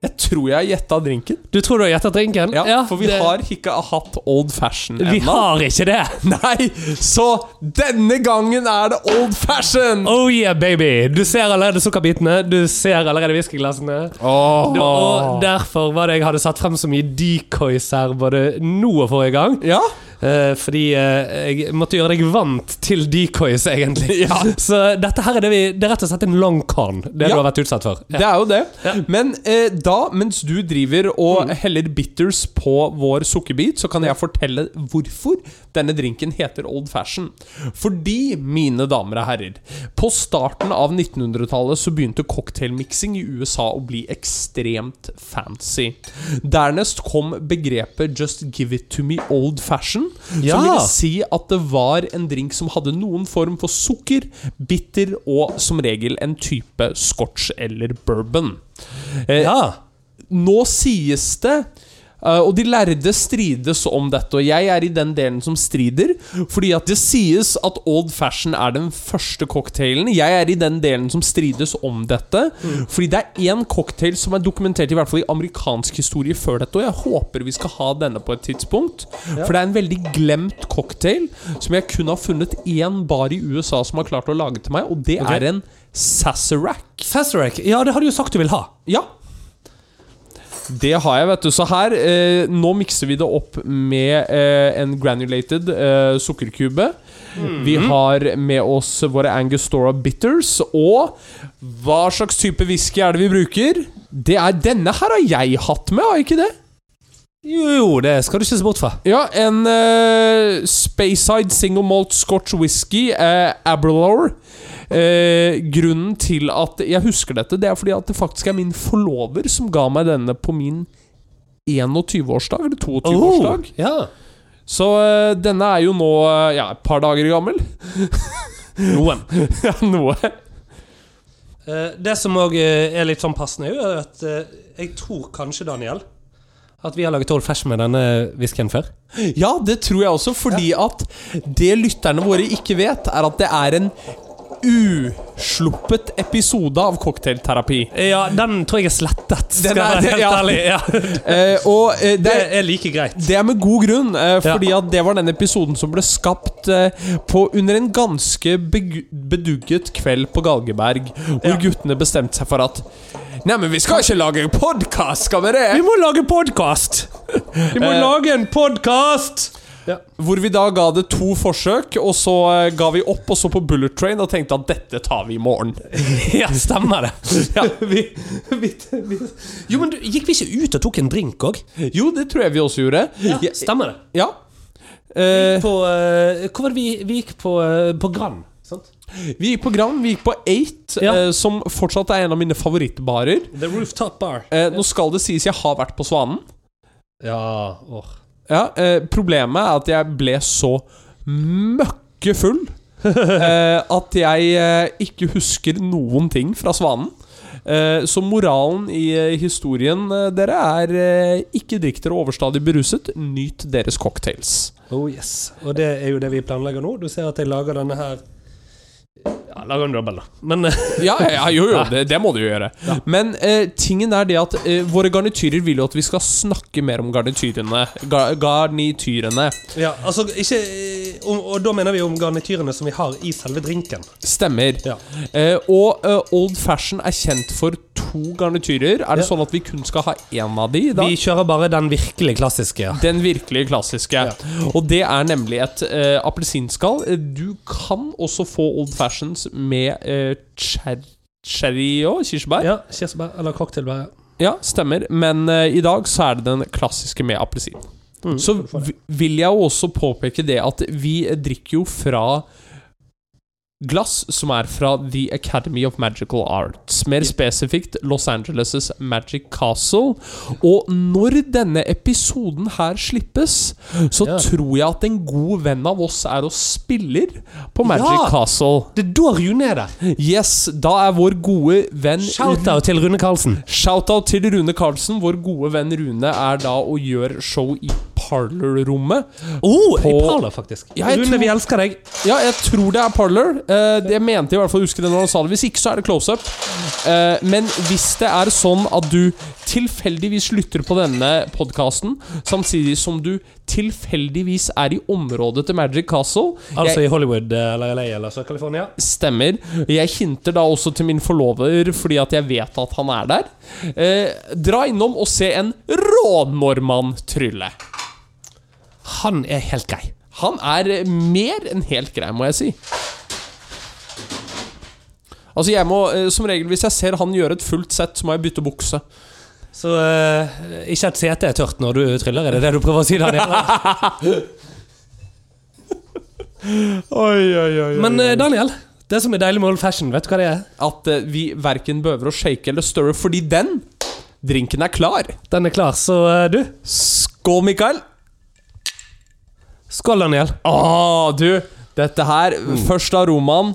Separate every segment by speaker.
Speaker 1: Jeg tror jeg gjetta drinken.
Speaker 2: Du tror du har gjettet drinken?
Speaker 1: Ja, For vi
Speaker 2: det-
Speaker 1: har ikke hatt old fashion
Speaker 2: Vi
Speaker 1: ennå.
Speaker 2: har ikke det!
Speaker 1: Nei, så denne gangen er det old fashion!
Speaker 2: Oh yeah, baby! Du ser allerede sukkerbitene, du ser allerede whiskyglassene.
Speaker 1: Åh.
Speaker 2: Du- Og derfor var det jeg hadde satt frem så mye decoys her både nå og forrige gang.
Speaker 1: Ja,
Speaker 2: Eh, fordi eh, jeg måtte gjøre deg vant til decoys, egentlig.
Speaker 1: Ja.
Speaker 2: Så dette her er det vi Det er rett og slett en long con, det
Speaker 1: Ja.
Speaker 2: du har vært utsatt for.
Speaker 1: det er jo det. Men eh, da, mens du driver og heller bitters på vår sukkerbit, så kan jeg fortelle hvorfor denne drinken heter old fashion. Fordi, mine damer og herrer, på starten av 1900-tallet så begynte cocktailmiksing i USA å bli ekstremt fancy. Dernest kom begrepet 'just give it to me old fashion',
Speaker 2: Ja.
Speaker 1: som ville si at det var en drink som hadde noen form for sukker, bitter og som regel en type scotch eller bourbon. Eh,
Speaker 2: Ja.
Speaker 1: Nå sies det eh, og de lærde strides om dette, og jeg er i den delen som strider. Fordi at det sies at old fashion er den første cocktailen. Jeg er i den delen som strides om dette. Fordi det er én cocktail som er dokumentert i hvert fall i amerikansk historie før dette, og jeg håper vi skal ha denne på et tidspunkt. For det er en veldig glemt cocktail som jeg kun har funnet én bar i USA som har klart å lage til meg, og det
Speaker 2: Ok.
Speaker 1: er en Sazerac.
Speaker 2: Sazerac. Ja, det har du jo sagt du vil ha.
Speaker 1: Ja. Det har jeg, vet du. Så her eh, Nå mikser vi det opp med eh, en granulated eh, sukkerkube. Vi har med oss våre Angostura Bitters. Og hva slags type whisky er det vi bruker? Det er Denne her har jeg hatt med, har jeg ikke det?
Speaker 2: Jo, jo, det skal du ikke se bort fra.
Speaker 1: Ja, en uh, Speyside Single Malt Scotch Whisky uh, Aberlour. Eh, grunnen til at jeg husker dette, det er fordi at det faktisk er min forlover som ga meg denne på min 21-årsdag, eller 22-årsdag.
Speaker 2: Oh. ja.
Speaker 1: Så eh, denne er jo nå eh, ja, et par dager gammel.
Speaker 2: Noen.
Speaker 1: ja, noe.
Speaker 2: Eh, det som òg er litt sånn passende, er jo at eh, jeg tror kanskje, Daniel, at vi har laget old fashion med denne whiskyen før.
Speaker 1: Ja, det tror jeg også, fordi at det lytterne våre ikke vet, er at det er en usluppet episode av cocktailterapi.
Speaker 2: Ja, den tror jeg er slettet, skal jeg
Speaker 1: Den er-
Speaker 2: være helt
Speaker 1: ja.
Speaker 2: ærlig. Ja.
Speaker 1: Eh, og eh, det
Speaker 2: Det
Speaker 1: er
Speaker 2: er like greit.
Speaker 1: Det er med god grunn, eh,
Speaker 2: Ja.
Speaker 1: fordi at det var den episoden som ble skapt eh, på, under en ganske begu- bedugget kveld på Galgeberg, hvor
Speaker 2: Ja.
Speaker 1: guttene bestemte seg for at Neimen, vi skal ikke lage podkast, skal vi det?
Speaker 2: Vi må lage podkast! Vi må
Speaker 1: Eh.
Speaker 2: lage en podkast!
Speaker 1: Hvor vi da ga det to forsøk, og så eh, ga vi opp og så på Bullet Train og tenkte at dette tar vi i morgen.
Speaker 2: Ja, stemmer det. Vi- vi- vi- Jo, men du, Gikk vi ikke ut og tok en drink òg?
Speaker 1: Jo, det tror jeg vi også gjorde. Ja.
Speaker 2: Stemmer det.
Speaker 1: ja. Eh,
Speaker 2: På, eh, hvor var det vi, vi gikk på, eh, på Grand? Sant?
Speaker 1: vi gikk på Gran, vi gikk på Eight,
Speaker 2: Ja.
Speaker 1: eh, som fortsatt er en av mine favorittbarer.
Speaker 2: The Rooftop Bar.
Speaker 1: Eh, nå skal det sies jeg har vært på Svanen.
Speaker 2: Ja, åh.
Speaker 1: Ja, eh, Problemet er at jeg ble så møkkefull eh, at jeg eh, ikke husker noen ting fra Svanen. Eh, så moralen i eh, historien, eh, dere, er eh, ikke drikk dere overstadig beruset. Nyt deres cocktails.
Speaker 2: Oh yes. Og det er jo det vi planlegger nå. Du ser at jeg lager denne her Ja, lager en dobbel, da. Men eh,
Speaker 1: Ja, ja, ja jo, jo, det, det må du jo gjøre. Men eh, tingen er det at eh, våre garnityrer vil jo at vi skal snakke mer om garnityrene. Ga, garnityrene.
Speaker 2: ja, altså ikke eh, og, og da mener vi om garnityrene som vi har i selve drinken.
Speaker 1: Stemmer.
Speaker 2: Ja.
Speaker 1: Eh, og eh, Old Fashion er kjent for to garnityrer. Er det sånn at vi kun skal ha én av de i dag?
Speaker 2: Vi kjører bare den virkelig klassiske. ja.
Speaker 1: Den virkelig klassiske. Og det er nemlig et eh, appelsinskall. Eh, Du kan også få Old Fashions med eh, cher- cherry og kirsebær. Ja.
Speaker 2: Ja, Kirsebær eller cocktailbær. ja.
Speaker 1: stemmer. Men eh, i dag så er det den klassiske med appelsin.
Speaker 2: Mm,
Speaker 1: Så
Speaker 2: får du få det.
Speaker 1: vi- vil jeg jo også påpeke det at vi eh, drikker jo fra glass som er fra The Academy of Magical Arts. Mer spesifikt Los Angeles' Magic Castle. Og når denne episoden her slippes, så
Speaker 2: Ja.
Speaker 1: tror jeg at en god venn av oss er og spiller på Magic
Speaker 2: Ja!
Speaker 1: Castle.
Speaker 2: Det er da Rune er der.
Speaker 1: Yes, da er vår gode venn
Speaker 2: Shout-out til Rune Karlsen.
Speaker 1: Shoutout til Rune Karlsen. Vår gode venn Rune er da og gjør show i Parlor-rommet.
Speaker 2: Oh,
Speaker 1: På-
Speaker 2: I Parler, faktisk.
Speaker 1: Ja, jeg
Speaker 2: Rune,
Speaker 1: tror-
Speaker 2: vi elsker deg.
Speaker 1: Ja, jeg tror det er Parlor. Eh, det- jeg mente i hvert fall å huske det når han sa det. Hvis ikke, så er det close up. Eh, men hvis det er sånn at du tilfeldigvis lytter på denne podkasten, samtidig som du tilfeldigvis er i området til Magic Castle jeg-
Speaker 2: Altså i Hollywood eller LA eller så California.
Speaker 1: Stemmer. Jeg hinter da også til min forlover fordi at jeg vet at han er der. Eh, dra innom og se en rånordmann trylle.
Speaker 2: Han er helt grei.
Speaker 1: Han er mer enn helt grei, må jeg si. Altså jeg må, eh, Som regel hvis jeg ser han gjøre et fullt sett, så må jeg bytte bukse.
Speaker 2: Så eh, ikke at setet er tørt når du tryller, er det det du prøver å si? Daniel? Men eh, Daniel, det som er deilig med old fashion, vet du hva det er?
Speaker 1: At eh, vi verken behøver å shake eller stirre, fordi den drinken er klar.
Speaker 2: Den er klar, så eh, du
Speaker 1: Skål, Mikael.
Speaker 2: Skål, Daniel.
Speaker 1: Åh, Ah, du! Dette her Først aromaen.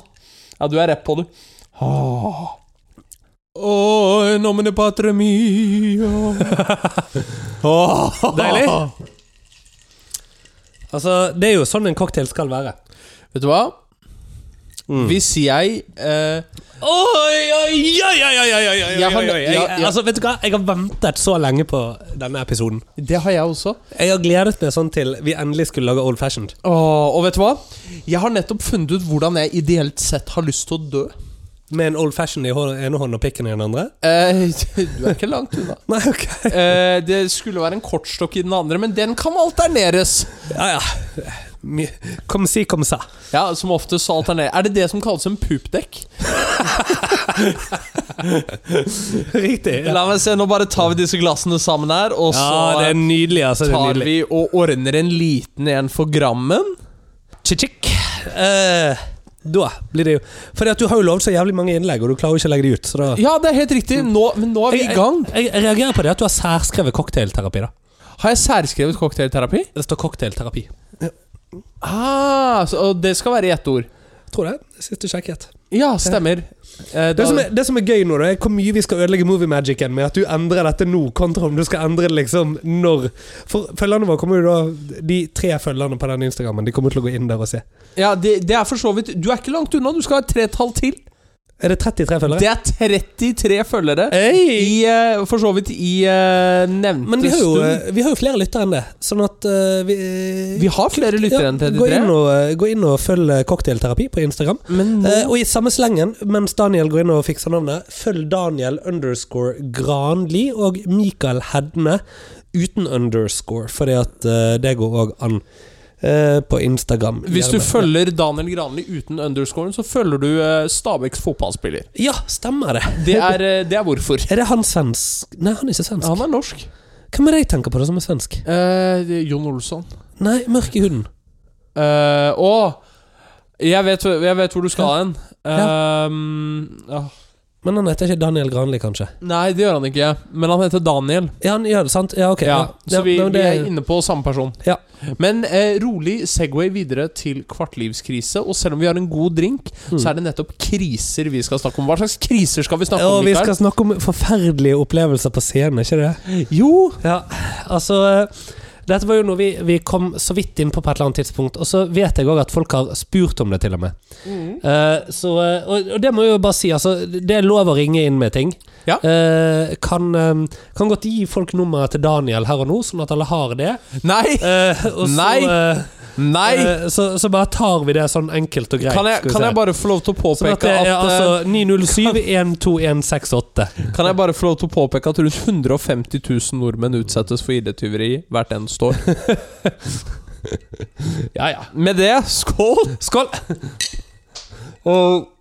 Speaker 1: Ja, du er rett på, du. Ah. Åh. Åh, nomine patre mio Åh.
Speaker 2: Deilig. Altså, Det er jo sånn en cocktail skal være.
Speaker 1: Vet du hva? Hvis jeg eh,
Speaker 2: Oi, oi, oi, oi, oi, oi, oi,
Speaker 1: Jeg har-
Speaker 2: oi, oi. Jeg,
Speaker 1: ja, ja.
Speaker 2: Altså, vet du hva? Jeg har ventet så lenge på denne episoden.
Speaker 1: Det har jeg også.
Speaker 2: Jeg har gledet meg sånn til vi endelig skulle lage old fashioned.
Speaker 1: Åh, og vet du hva? Jeg har nettopp funnet ut hvordan jeg ideelt sett har lyst til å dø.
Speaker 2: Med en old fashioned i hå- ene hånden og pikken i den andre.
Speaker 1: Eh, du er ikke langt unna.
Speaker 2: Nei, ok.
Speaker 1: Eh, det skulle være en kortstokk i den andre, men den kan alterneres.
Speaker 2: Ja, ja. Mi- Kom si, kom sa.
Speaker 1: Ja, som oftest så alternerer Er det det som kalles en pupdekk?
Speaker 2: Riktig. Ja.
Speaker 1: La meg se, nå bare tar vi disse glassene sammen her, og så
Speaker 2: ja, det er nydelig. altså. Det er
Speaker 1: tar
Speaker 2: nydelig.
Speaker 1: vi og ordner en liten en for grammen.
Speaker 2: Tjikk. Eh, da blir det jo Fordi at du har jo lovd så jævlig mange innlegg, og du klarer jo ikke å legge det ut. Så da
Speaker 1: Ja, det er helt riktig. Nå, men nå er vi i gang.
Speaker 2: Jeg, jeg, jeg reagerer på det at du har særskrevet cocktailterapi. da
Speaker 1: Har jeg særskrevet cocktailterapi?
Speaker 2: Det står cocktailterapi.
Speaker 1: Ah, så, og det skal være i ett ord.
Speaker 2: Tror det. Siste sjekket.
Speaker 1: Ja, stemmer. Eh,
Speaker 2: Det
Speaker 1: da,
Speaker 2: som, er, det som er gøy nå, da, er hvor mye vi skal ødelegge moviemagicen med at du endrer dette nå, kontra om du skal endre det liksom når For følgerne våre kommer jo da De tre følgerne på den Instagrammen De kommer til å gå inn der og se.
Speaker 1: ja, det, det er for så vidt Du er ikke langt unna. Du skal ha tre tall til.
Speaker 2: Er det 33 følgere?
Speaker 1: Det er 33 følgere.
Speaker 2: Hey!
Speaker 1: I, eh, for så vidt i eh, nevnte
Speaker 2: Men vi har, jo,
Speaker 1: stund.
Speaker 2: eh, vi har jo flere lyttere enn det, sånn at eh, vi,
Speaker 1: Vi har flere lyttere enn
Speaker 2: Gå inn,
Speaker 1: 33.
Speaker 2: og, eh, gå inn og følg Cocktailterapi på Instagram.
Speaker 1: Men nå
Speaker 2: Eh, og i samme slengen, mens Daniel går inn og fikser navnet, følg Daniel underscore Granli og Mikael Hedne uten underscore, fordi at eh, det går òg an eh, på Instagram.
Speaker 1: Hvis du
Speaker 2: Gjerne.
Speaker 1: følger Daniel Granli uten underscoren, så følger du eh, Stabæks fotballspiller.
Speaker 2: Ja, stemmer det.
Speaker 1: Det er, eh, det er hvorfor.
Speaker 2: Er det han svensk Nei, han er ikke svensk.
Speaker 1: Han er norsk.
Speaker 2: Hvem er det jeg tenker på det som er svensk?
Speaker 1: Eh, det er Jon Olsson.
Speaker 2: Nei, mørk i huden.
Speaker 1: Eh, og jeg vet, jeg vet hvor du skal hen. Ehm, ja.
Speaker 2: Men han heter ikke Daniel Granli, kanskje?
Speaker 1: Nei, det gjør han ikke. Men han heter Daniel.
Speaker 2: Ja, han gjør det, sant? Ja, ok.
Speaker 1: Ja, så vi,
Speaker 2: men
Speaker 1: vi
Speaker 2: det-
Speaker 1: er inne på samme person.
Speaker 2: Ja.
Speaker 1: Men eh, rolig Segway videre til kvartlivskrise. Og selv om vi har en god drink,
Speaker 2: Mm.
Speaker 1: så er det nettopp kriser vi skal snakke om. Hva slags kriser skal vi snakke
Speaker 2: Og
Speaker 1: om?
Speaker 2: vi
Speaker 1: Mikael?
Speaker 2: skal snakke om forferdelige opplevelser på scenen, ikke det?
Speaker 1: Jo!
Speaker 2: Ja, altså eh, Dette var jo noe vi, vi kom så vidt inn på på et eller annet tidspunkt, og så vet jeg òg at folk har spurt om det, til og med.
Speaker 1: Mm.
Speaker 2: Eh, så, eh, og, og det må jeg jo bare si, altså. Det er lov å ringe inn med ting.
Speaker 1: Ja.
Speaker 2: Eh, kan, eh, kan godt gi folk nummeret til Daniel her og nå, sånn at alle har det.
Speaker 1: Nei!
Speaker 2: Eh, og så,
Speaker 1: Nei.
Speaker 2: eh,
Speaker 1: Nei!
Speaker 2: eh, så, så bare tar vi det sånn enkelt og greit.
Speaker 1: Kan jeg,
Speaker 2: skal vi
Speaker 1: kan
Speaker 2: se.
Speaker 1: jeg bare få lov til å
Speaker 2: sånn at
Speaker 1: påpeke
Speaker 2: det
Speaker 1: at,
Speaker 2: er altså
Speaker 1: eh,
Speaker 2: 907-12168.
Speaker 1: Kan jeg bare få lov til å påpeke at rundt 150 000 nordmenn utsettes for ID-tyveri hvert eneste år? ja, ja. Med det, skål!
Speaker 2: Skål!
Speaker 1: Og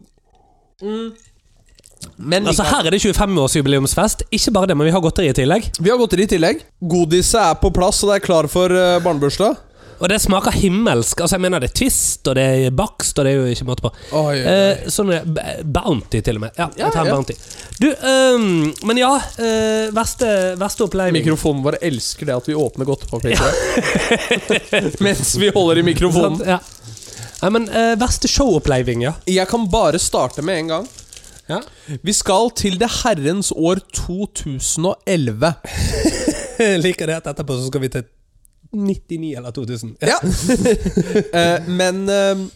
Speaker 1: Men
Speaker 2: Altså Her er det 25-årsjubileumsfest. Ikke bare det, men vi har godteri i tillegg.
Speaker 1: vi har godteri i tillegg. Godiset er på plass, og det er klar for eh, barnebursdag.
Speaker 2: Og det smaker himmelsk. Altså, jeg mener det er Twist, og det er bakst, og det er jo ikke måte på.
Speaker 1: Oi, oi,
Speaker 2: Eh, sånn er det. B- Bounty, til og med. Ja, jeg tar en
Speaker 1: ja.
Speaker 2: Bounty. Du, ehm, men ja. eh, verste, verste oppleving.
Speaker 1: Mikrofonen vår elsker det at vi åpner godtepapir mens vi holder i mikrofonen.
Speaker 2: Sant? Ja. Nei, men eh, verste show-oppleving, ja.
Speaker 1: Jeg kan bare starte med en gang.
Speaker 2: Ja.
Speaker 1: Vi skal til det herrens år 2011.
Speaker 2: Jeg liker det at etterpå så skal vi til 99 eller 2000.
Speaker 1: Ja. Eh, men eh,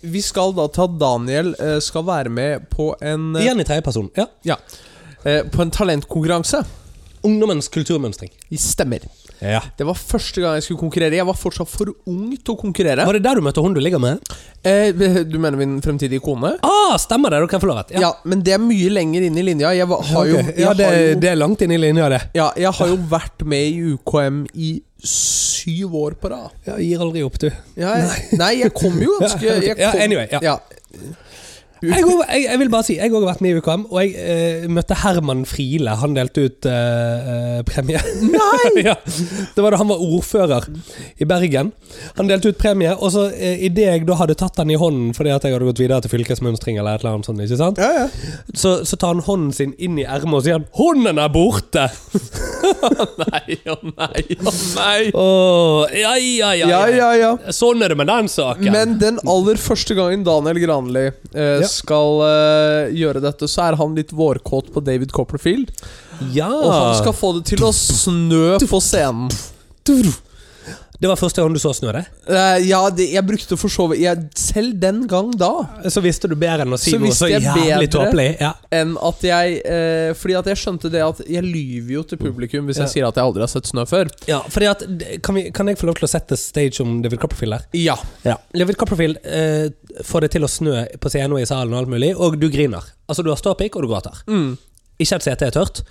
Speaker 1: vi skal da til at Daniel eh, skal være med på en eh,
Speaker 2: Igjen i tredjeperson. Ja.
Speaker 1: ja, eh, På en talentkonkurranse.
Speaker 2: Ungdommens kulturmønstring.
Speaker 1: I Stemmer.
Speaker 2: Ja.
Speaker 1: Det var første gang jeg skulle konkurrere. Jeg var fortsatt for ung til å konkurrere.
Speaker 2: Var det der du møtte hun du ligger med?
Speaker 1: Eh, du mener min fremtidige kone?
Speaker 2: Ah, stemmer det! Du kan få lov til
Speaker 1: Ja. men det er mye lenger inn i linja. Jeg var, har jo, jeg
Speaker 2: ja, det,
Speaker 1: har jo
Speaker 2: det er langt inn i linja, det.
Speaker 1: Ja, jeg har jo vært med i UKM i syv år på rad.
Speaker 2: Ja, gir aldri opp, du.
Speaker 1: Jeg, nei. jeg kom jo ganske jeg
Speaker 2: Ja,
Speaker 1: kom,
Speaker 2: anyway, ja. Jeg, går- jeg, jeg vil bare si, jeg har også vært med i UKM, og jeg eh, møtte Herman Friele. Han delte ut eh, eh, premie. Nei! ja, det var da han var ordfører i Bergen. Han delte ut premie, og så eh, idet jeg da hadde tatt den i hånden fordi at jeg hadde gått videre til fylkesmønstring eller et eller annet sånt, ikke sant?
Speaker 1: Ja, ja.
Speaker 2: Så, så tar han hånden sin inn i ermet og sier han, 'Hånden er borte!'
Speaker 1: Nei og nei og nei.
Speaker 2: Åh, ja, ja, ja,
Speaker 1: Ja, ja, ja.
Speaker 2: Sånn er det med den saken.
Speaker 1: Men den aller første gangen Daniel Granli eh,
Speaker 2: Ja.
Speaker 1: skal eh, gjøre dette, så er han litt vårkåt på David Copperfield.
Speaker 2: ja.
Speaker 1: Og han skal få det til å snø på scenen.
Speaker 2: Det var første gang du så snø, det?
Speaker 1: Eh, ja, det, jeg brukte for så vidt jeg- Selv den gang da
Speaker 2: Så visste du bedre enn å si
Speaker 1: Så
Speaker 2: noe
Speaker 1: visste
Speaker 2: så
Speaker 1: jeg
Speaker 2: jævlig
Speaker 1: bedre.
Speaker 2: tåpelig. Ja.
Speaker 1: enn at jeg eh, Fordi at jeg skjønte det at jeg lyver jo til publikum hvis
Speaker 2: Ja.
Speaker 1: jeg sier at jeg aldri har sett snø før.
Speaker 2: Ja, fordi at, kan, vi, kan jeg få lov til å sette stage om David Copperfield her?
Speaker 1: Ja.
Speaker 2: David Copperfield eh, får det til å snø på scenen og i salen og alt mulig, og du griner. Altså, du har ståpikk, og du gråter.
Speaker 1: Mm.
Speaker 2: Ikke et sete er tørt.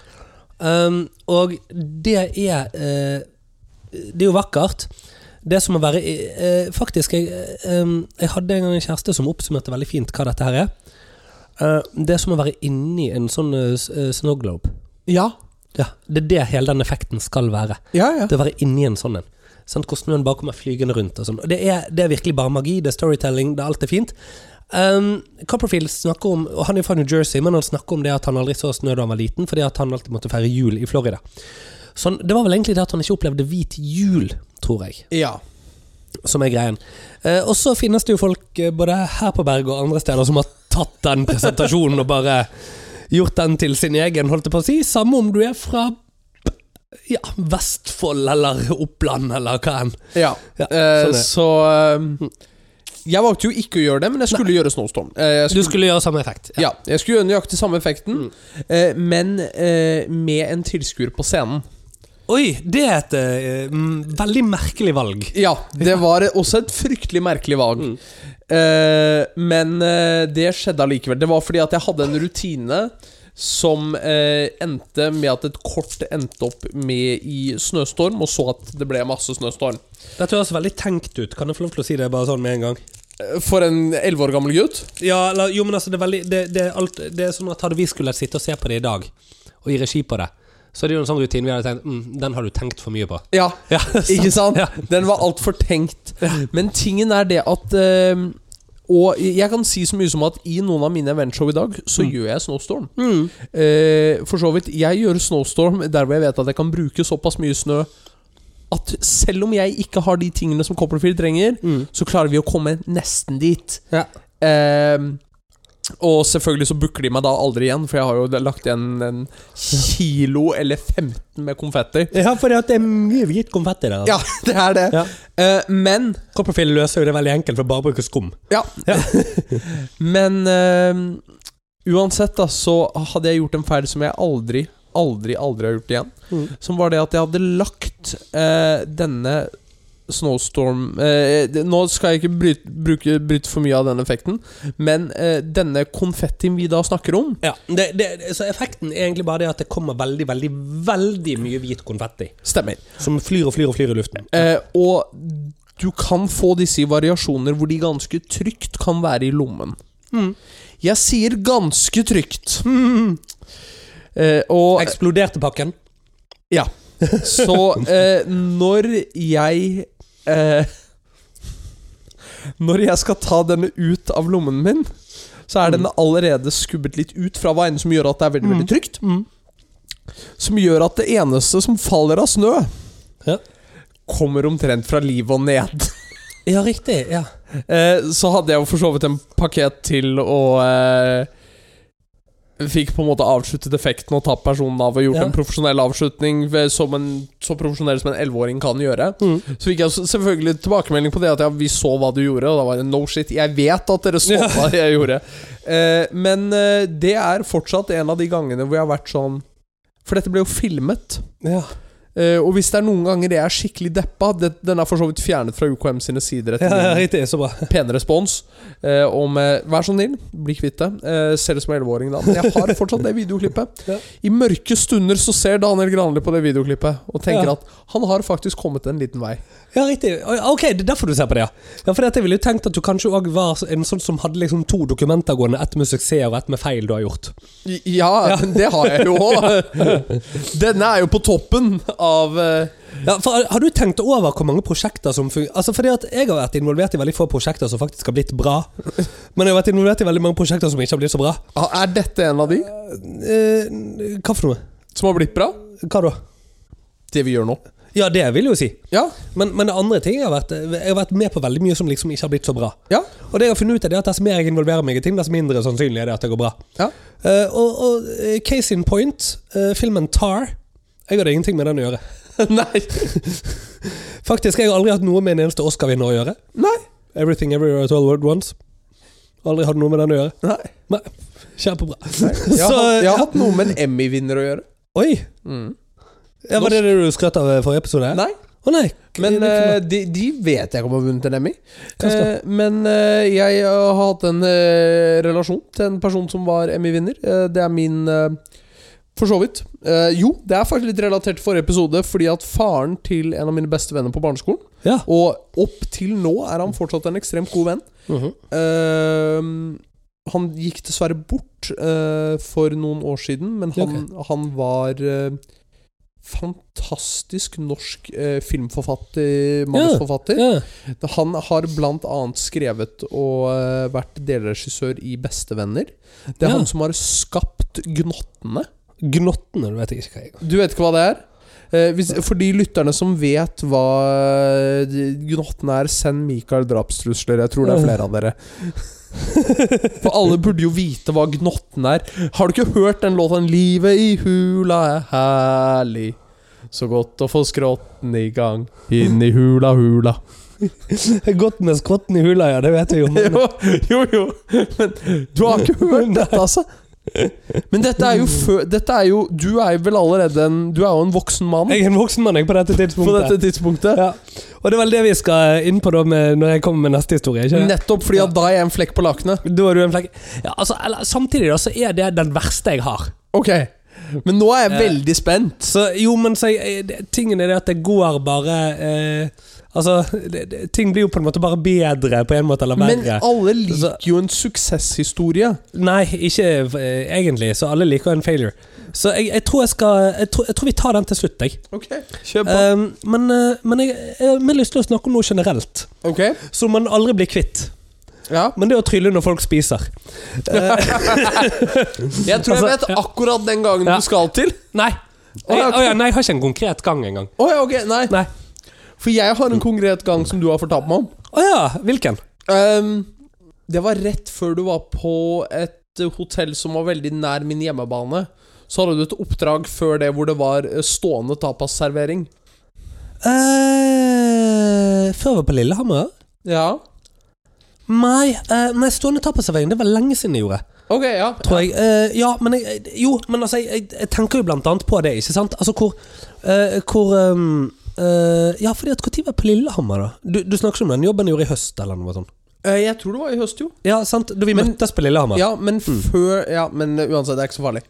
Speaker 2: Um, og det er eh, Det er jo vakkert. Det som å være eh, Faktisk, jeg, eh, um, jeg hadde en gang en kjæreste som oppsummerte veldig fint hva dette her er. Eh, det er som å være inni en sånn eh, s- eh, snowglobe.
Speaker 1: Ja.
Speaker 2: Ja, det er det hele den effekten skal være.
Speaker 1: Ja, ja.
Speaker 2: Det å være inni en sånn en. Sånn, hvor snøen bare kommer flygende rundt. Og sånn. Og det, er, det er virkelig bare magi. Det er storytelling. Det er alt er fint. Um, Copperfield snakker om Og han er fra New Jersey, men han snakker om det at han aldri så snø da han var liten, fordi at han alltid måtte feire jul i Florida. Så han, det var vel egentlig det at han ikke opplevde hvit jul, tror jeg,
Speaker 1: ja.
Speaker 2: som er greien. Eh, og så finnes det jo folk eh, både her på berget og andre steder som har tatt den presentasjonen og bare gjort den til sin egen, holdt jeg på å si. Samme om du er fra ja, Vestfold eller Oppland eller hva enn.
Speaker 1: Ja,
Speaker 2: Ja,
Speaker 1: eh,
Speaker 2: sånn er det.
Speaker 1: så eh, Jeg valgte jo ikke å gjøre det, men jeg skulle gjøre Snowstorm. Eh, jeg
Speaker 2: Du
Speaker 1: skulle,
Speaker 2: skulle gjøre samme effekt.
Speaker 1: ja, jeg skulle gjøre nøyaktig samme effekten, eh, men eh, med en tilskuer på scenen.
Speaker 2: Oi, det er et eh, mm, veldig merkelig valg.
Speaker 1: Ja, Mm. det var eh, også et fryktelig merkelig valg. Eh, men eh, det skjedde allikevel. Det var fordi at jeg hadde en rutine som eh, endte med at et kort endte opp med i snøstorm, og så at det ble masse snøstorm.
Speaker 2: Dette høres veldig tenkt ut. Kan jeg få lov til å si det bare sånn med en gang?
Speaker 1: Eh, For en elleve år gammel gutt.
Speaker 2: Ja, eller, jo, men altså, det er veldig det, det, er alt, det er sånn at hadde vi skulle sitte og se på det i dag, og gi regi på det, så er det jo en sånn rutine vi hadde tenkt mm, Den har du tenkt for mye på.
Speaker 1: Ja,
Speaker 2: Ja,
Speaker 1: Ikke sant?
Speaker 2: Ja.
Speaker 1: Den var altfor tenkt. Men tingen er det at eh, Og jeg kan si så mye som at i noen av mine eventshow i dag, så gjør jeg snowstorm.
Speaker 2: Mm,
Speaker 1: Eh, for så vidt. Jeg gjør snowstorm der hvor jeg vet at jeg kan bruke såpass mye snø at selv om jeg ikke har de tingene som Copperfield trenger,
Speaker 2: mm.
Speaker 1: så klarer vi å komme nesten dit.
Speaker 2: Ja.
Speaker 1: Eh, og selvfølgelig så booker de meg da aldri igjen, for jeg har jo lagt igjen en kilo eller 15 med konfetti.
Speaker 2: Ja, for det er mye hvit konfetti der.
Speaker 1: Ja, det er det.
Speaker 2: Ja.
Speaker 1: Eh, men
Speaker 2: Copperfield løser jo det veldig enkelt ved bare å bruke skum.
Speaker 1: Ja. Men eh, uansett, da, så hadde jeg gjort en feil som jeg aldri, aldri, aldri har gjort igjen.
Speaker 2: Mm.
Speaker 1: Som var det at jeg hadde lagt eh, denne Snowstorm eh, det- Nå skal jeg ikke bryte, bruke, bryte for mye av den effekten, men eh, denne konfettien vi da snakker om
Speaker 2: Ja, det, det, Så effekten er egentlig bare det at det kommer veldig, veldig, veldig mye hvit konfetti.
Speaker 1: Stemmer.
Speaker 2: Som flyr og flyr og flyr i luften.
Speaker 1: Eh, og du kan få disse i variasjoner hvor de ganske trygt kan være i lommen. Jeg sier ganske trygt. Eh, og
Speaker 2: Eksploderte pakken.
Speaker 1: Ja. Så eh, når jeg eh, Når jeg skal ta denne ut av lommen min, så er den allerede skubbet litt ut fra veien, som gjør at det er veldig, veldig trygt.
Speaker 2: Mm.
Speaker 1: Som gjør at det eneste som faller av snø,
Speaker 2: Ja.
Speaker 1: kommer omtrent fra livet og ned.
Speaker 2: Ja, riktig. Ja.
Speaker 1: Eh, så hadde jeg jo for så vidt en pakket til og eh, Fikk på en måte avsluttet effekten og tatt personen av og gjort
Speaker 2: Ja.
Speaker 1: en profesjonell avslutning ved- som en, så profesjonell som en 11-åring kan gjøre.
Speaker 2: Mm.
Speaker 1: Så fikk jeg s- selvfølgelig tilbakemelding på det at ja, vi så hva du gjorde, og da var det no shit. Jeg vet at dere så
Speaker 2: Ja.
Speaker 1: hva jeg gjorde. Eh, men eh, det er fortsatt en av de gangene hvor jeg har vært sånn For dette ble jo filmet.
Speaker 2: Ja.
Speaker 1: Eh, og hvis det er noen ganger jeg er skikkelig deppa det, Den er for så vidt fjernet fra UKM sine sider.
Speaker 2: Ja,
Speaker 1: etter min-
Speaker 2: ja, riktig. Så bra.
Speaker 1: pen respons eh, om eh, Vær så snill, bli kvitt det. Eh, ser ut som en 11-åring, da. Men jeg har fortsatt det videoklippet.
Speaker 2: Ja.
Speaker 1: I mørke stunder så ser Daniel Granli på det videoklippet og tenker
Speaker 2: Ja.
Speaker 1: at han har faktisk kommet en liten vei.
Speaker 2: Ja, riktig. Å, ja, Ok, det er derfor du ser på det, ja. ja for jeg ville jo tenkt at du kanskje òg var en sånn som hadde liksom to dokumenter gående. Ett med suksess og ett med feil du har gjort.
Speaker 1: I- Ja, det har jeg jo òg. Denne er jo på toppen av eh,
Speaker 2: Ja, for Har du tenkt over hvor mange prosjekter som fungerer? Altså, fordi at jeg har vært involvert i veldig få prosjekter som faktisk har blitt bra. Men jeg har vært involvert i veldig mange prosjekter som ikke har blitt så bra.
Speaker 1: Er dette en av de
Speaker 2: Eh, hva for noe?
Speaker 1: som har blitt bra?
Speaker 2: Hva da?
Speaker 1: Det vi gjør nå.
Speaker 2: Ja, det vil jeg jo si.
Speaker 1: Ja.
Speaker 2: Men, men det andre ting jeg har, vært, jeg har vært med på veldig mye som liksom ikke har blitt så bra.
Speaker 1: Ja.
Speaker 2: Og det jeg har funnet ut er det at dess mer jeg involverer meg i ting, dess mindre sannsynlig er det at det går bra.
Speaker 1: ja.
Speaker 2: Eh, og, og eh, case in point, eh, filmen Tar Jeg hadde ingenting med den å gjøre.
Speaker 1: Nei.
Speaker 2: Faktisk jeg har aldri hatt noe med en eneste Oscar-vinner å gjøre.
Speaker 1: Nei.
Speaker 2: Everything Everywhere at All World Once. Aldri hatt noe med den å gjøre.
Speaker 1: Nei.
Speaker 2: Nei, Kjempebra.
Speaker 1: Jeg har,
Speaker 2: Så,
Speaker 1: hatt- jeg
Speaker 2: ja.
Speaker 1: har hatt noe med en Emmy-vinner å gjøre.
Speaker 2: Oi!
Speaker 1: Mm.
Speaker 2: Ja, var det det du skrøt av i forrige episode?
Speaker 1: Nei.
Speaker 2: Å nei.
Speaker 1: Men
Speaker 2: Hvilken da?
Speaker 1: eh, de, de vet jeg ikke om har vunnet en Emmy.
Speaker 2: Hva skal-
Speaker 1: Eh, men eh, jeg eh, har hatt en eh, relasjon til en person som var Emmy-vinner. Eh, det er min eh, For så vidt. Eh, jo, det er faktisk litt relatert til forrige episode, fordi at faren til en av mine beste venner på barneskolen
Speaker 2: Ja.
Speaker 1: Og opp til nå er han fortsatt en ekstremt god venn.
Speaker 2: Mhm.
Speaker 1: Eh, han gikk dessverre bort eh, for noen år siden, men han, han var eh, fantastisk norsk eh, filmforfatter, manusforfatter.
Speaker 2: ja.
Speaker 1: Han har blant annet skrevet og eh, vært delregissør i Bestevenner. Det er
Speaker 2: Ja.
Speaker 1: han som har skapt Gnottene.
Speaker 2: Gnottene, du vet jeg ikke hva jeg
Speaker 1: Du vet ikke hva det er? Eh, hvis, for de lytterne som vet hva de- Gnottene er, send Mikael drapstrusler. Jeg tror det er flere av dere. For alle burde jo vite hva Gnottene er. Har du ikke hørt den låten 'Livet i hula er herlig'? Så godt å få skrotten i gang. Inn i hula, hula.
Speaker 2: er. Godt med skrotten i hula, ja. Det vet vi jo. men-
Speaker 1: Jo, jo, jo. Men du har ikke hørt dette, altså? Men dette er jo før Dette er jo Du er jo vel allerede en Du er jo en voksen mann.
Speaker 2: Jeg er en voksen mann jeg, på dette tidspunktet.
Speaker 1: På dette tidspunktet.
Speaker 2: Ja. Og det er vel det vi skal eh, inn på da med, når jeg kommer med neste historie. ikke det?
Speaker 1: Nettopp fordi at da er jeg en flekk på lakenet.
Speaker 2: Da er du en flekk. Ja, altså, eller, samtidig da, så er det den verste jeg har.
Speaker 1: Ok. Men nå er jeg
Speaker 2: Eh.
Speaker 1: veldig spent.
Speaker 2: Så, jo, men så, jeg- det, tingen er det at det går bare eh, Altså, det, det, ting blir jo på en måte bare bedre på en måte, eller
Speaker 1: Men
Speaker 2: verre.
Speaker 1: alle liker jo en suksesshistorie.
Speaker 2: Nei, ikke eh, egentlig, så alle liker en failure. Så jeg, jeg tror jeg skal jeg tror, jeg tror vi tar den til slutt, jeg.
Speaker 1: Ok, kjør
Speaker 2: Um, men eh, men jeg, jeg har mer lyst til å snakke om noe generelt,
Speaker 1: Ok,
Speaker 2: som man aldri blir kvitt.
Speaker 1: ja
Speaker 2: Men det er å trylle når folk spiser.
Speaker 1: Jeg tror jeg
Speaker 2: Altså,
Speaker 1: vet akkurat den gangen
Speaker 2: Ja.
Speaker 1: du skal til.
Speaker 2: Nei.
Speaker 1: Å, ja,
Speaker 2: Jeg, å ja, nei, jeg har ikke en konkret gang engang.
Speaker 1: Å ja, ok, nei.
Speaker 2: Nei.
Speaker 1: For jeg har en konkret gang som du har fortalt meg om.
Speaker 2: Å ja, hvilken?
Speaker 1: Ehm, det var rett før du var på et eh, hotell som var veldig nær min hjemmebane. Så hadde du et oppdrag før det hvor det var eh, stående tapasservering.
Speaker 2: Eh, før jeg var på Lillehammer?
Speaker 1: Ja.
Speaker 2: Nei, eh, nei stående tapasservering. Det var lenge siden jeg gjorde.
Speaker 1: Ok, ja.
Speaker 2: Tror jeg. Eh, ja, men jeg, jeg- jo, men altså, jeg, jeg, jeg tenker jo blant annet på det, ikke sant? Altså hvor, eh, hvor ehm, eh, Ja, fordi at når var jeg på Lillehammer, da? Du, du snakker ikke om den jobben jeg gjorde i høst, eller noe sånt?
Speaker 1: Eh, Jeg tror det var i høst, jo.
Speaker 2: Ja, sant? Da vi
Speaker 1: Men-
Speaker 2: møttes på Lillehammer.
Speaker 1: Ja, men før Ja, men uh, uansett, det er ikke så farlig.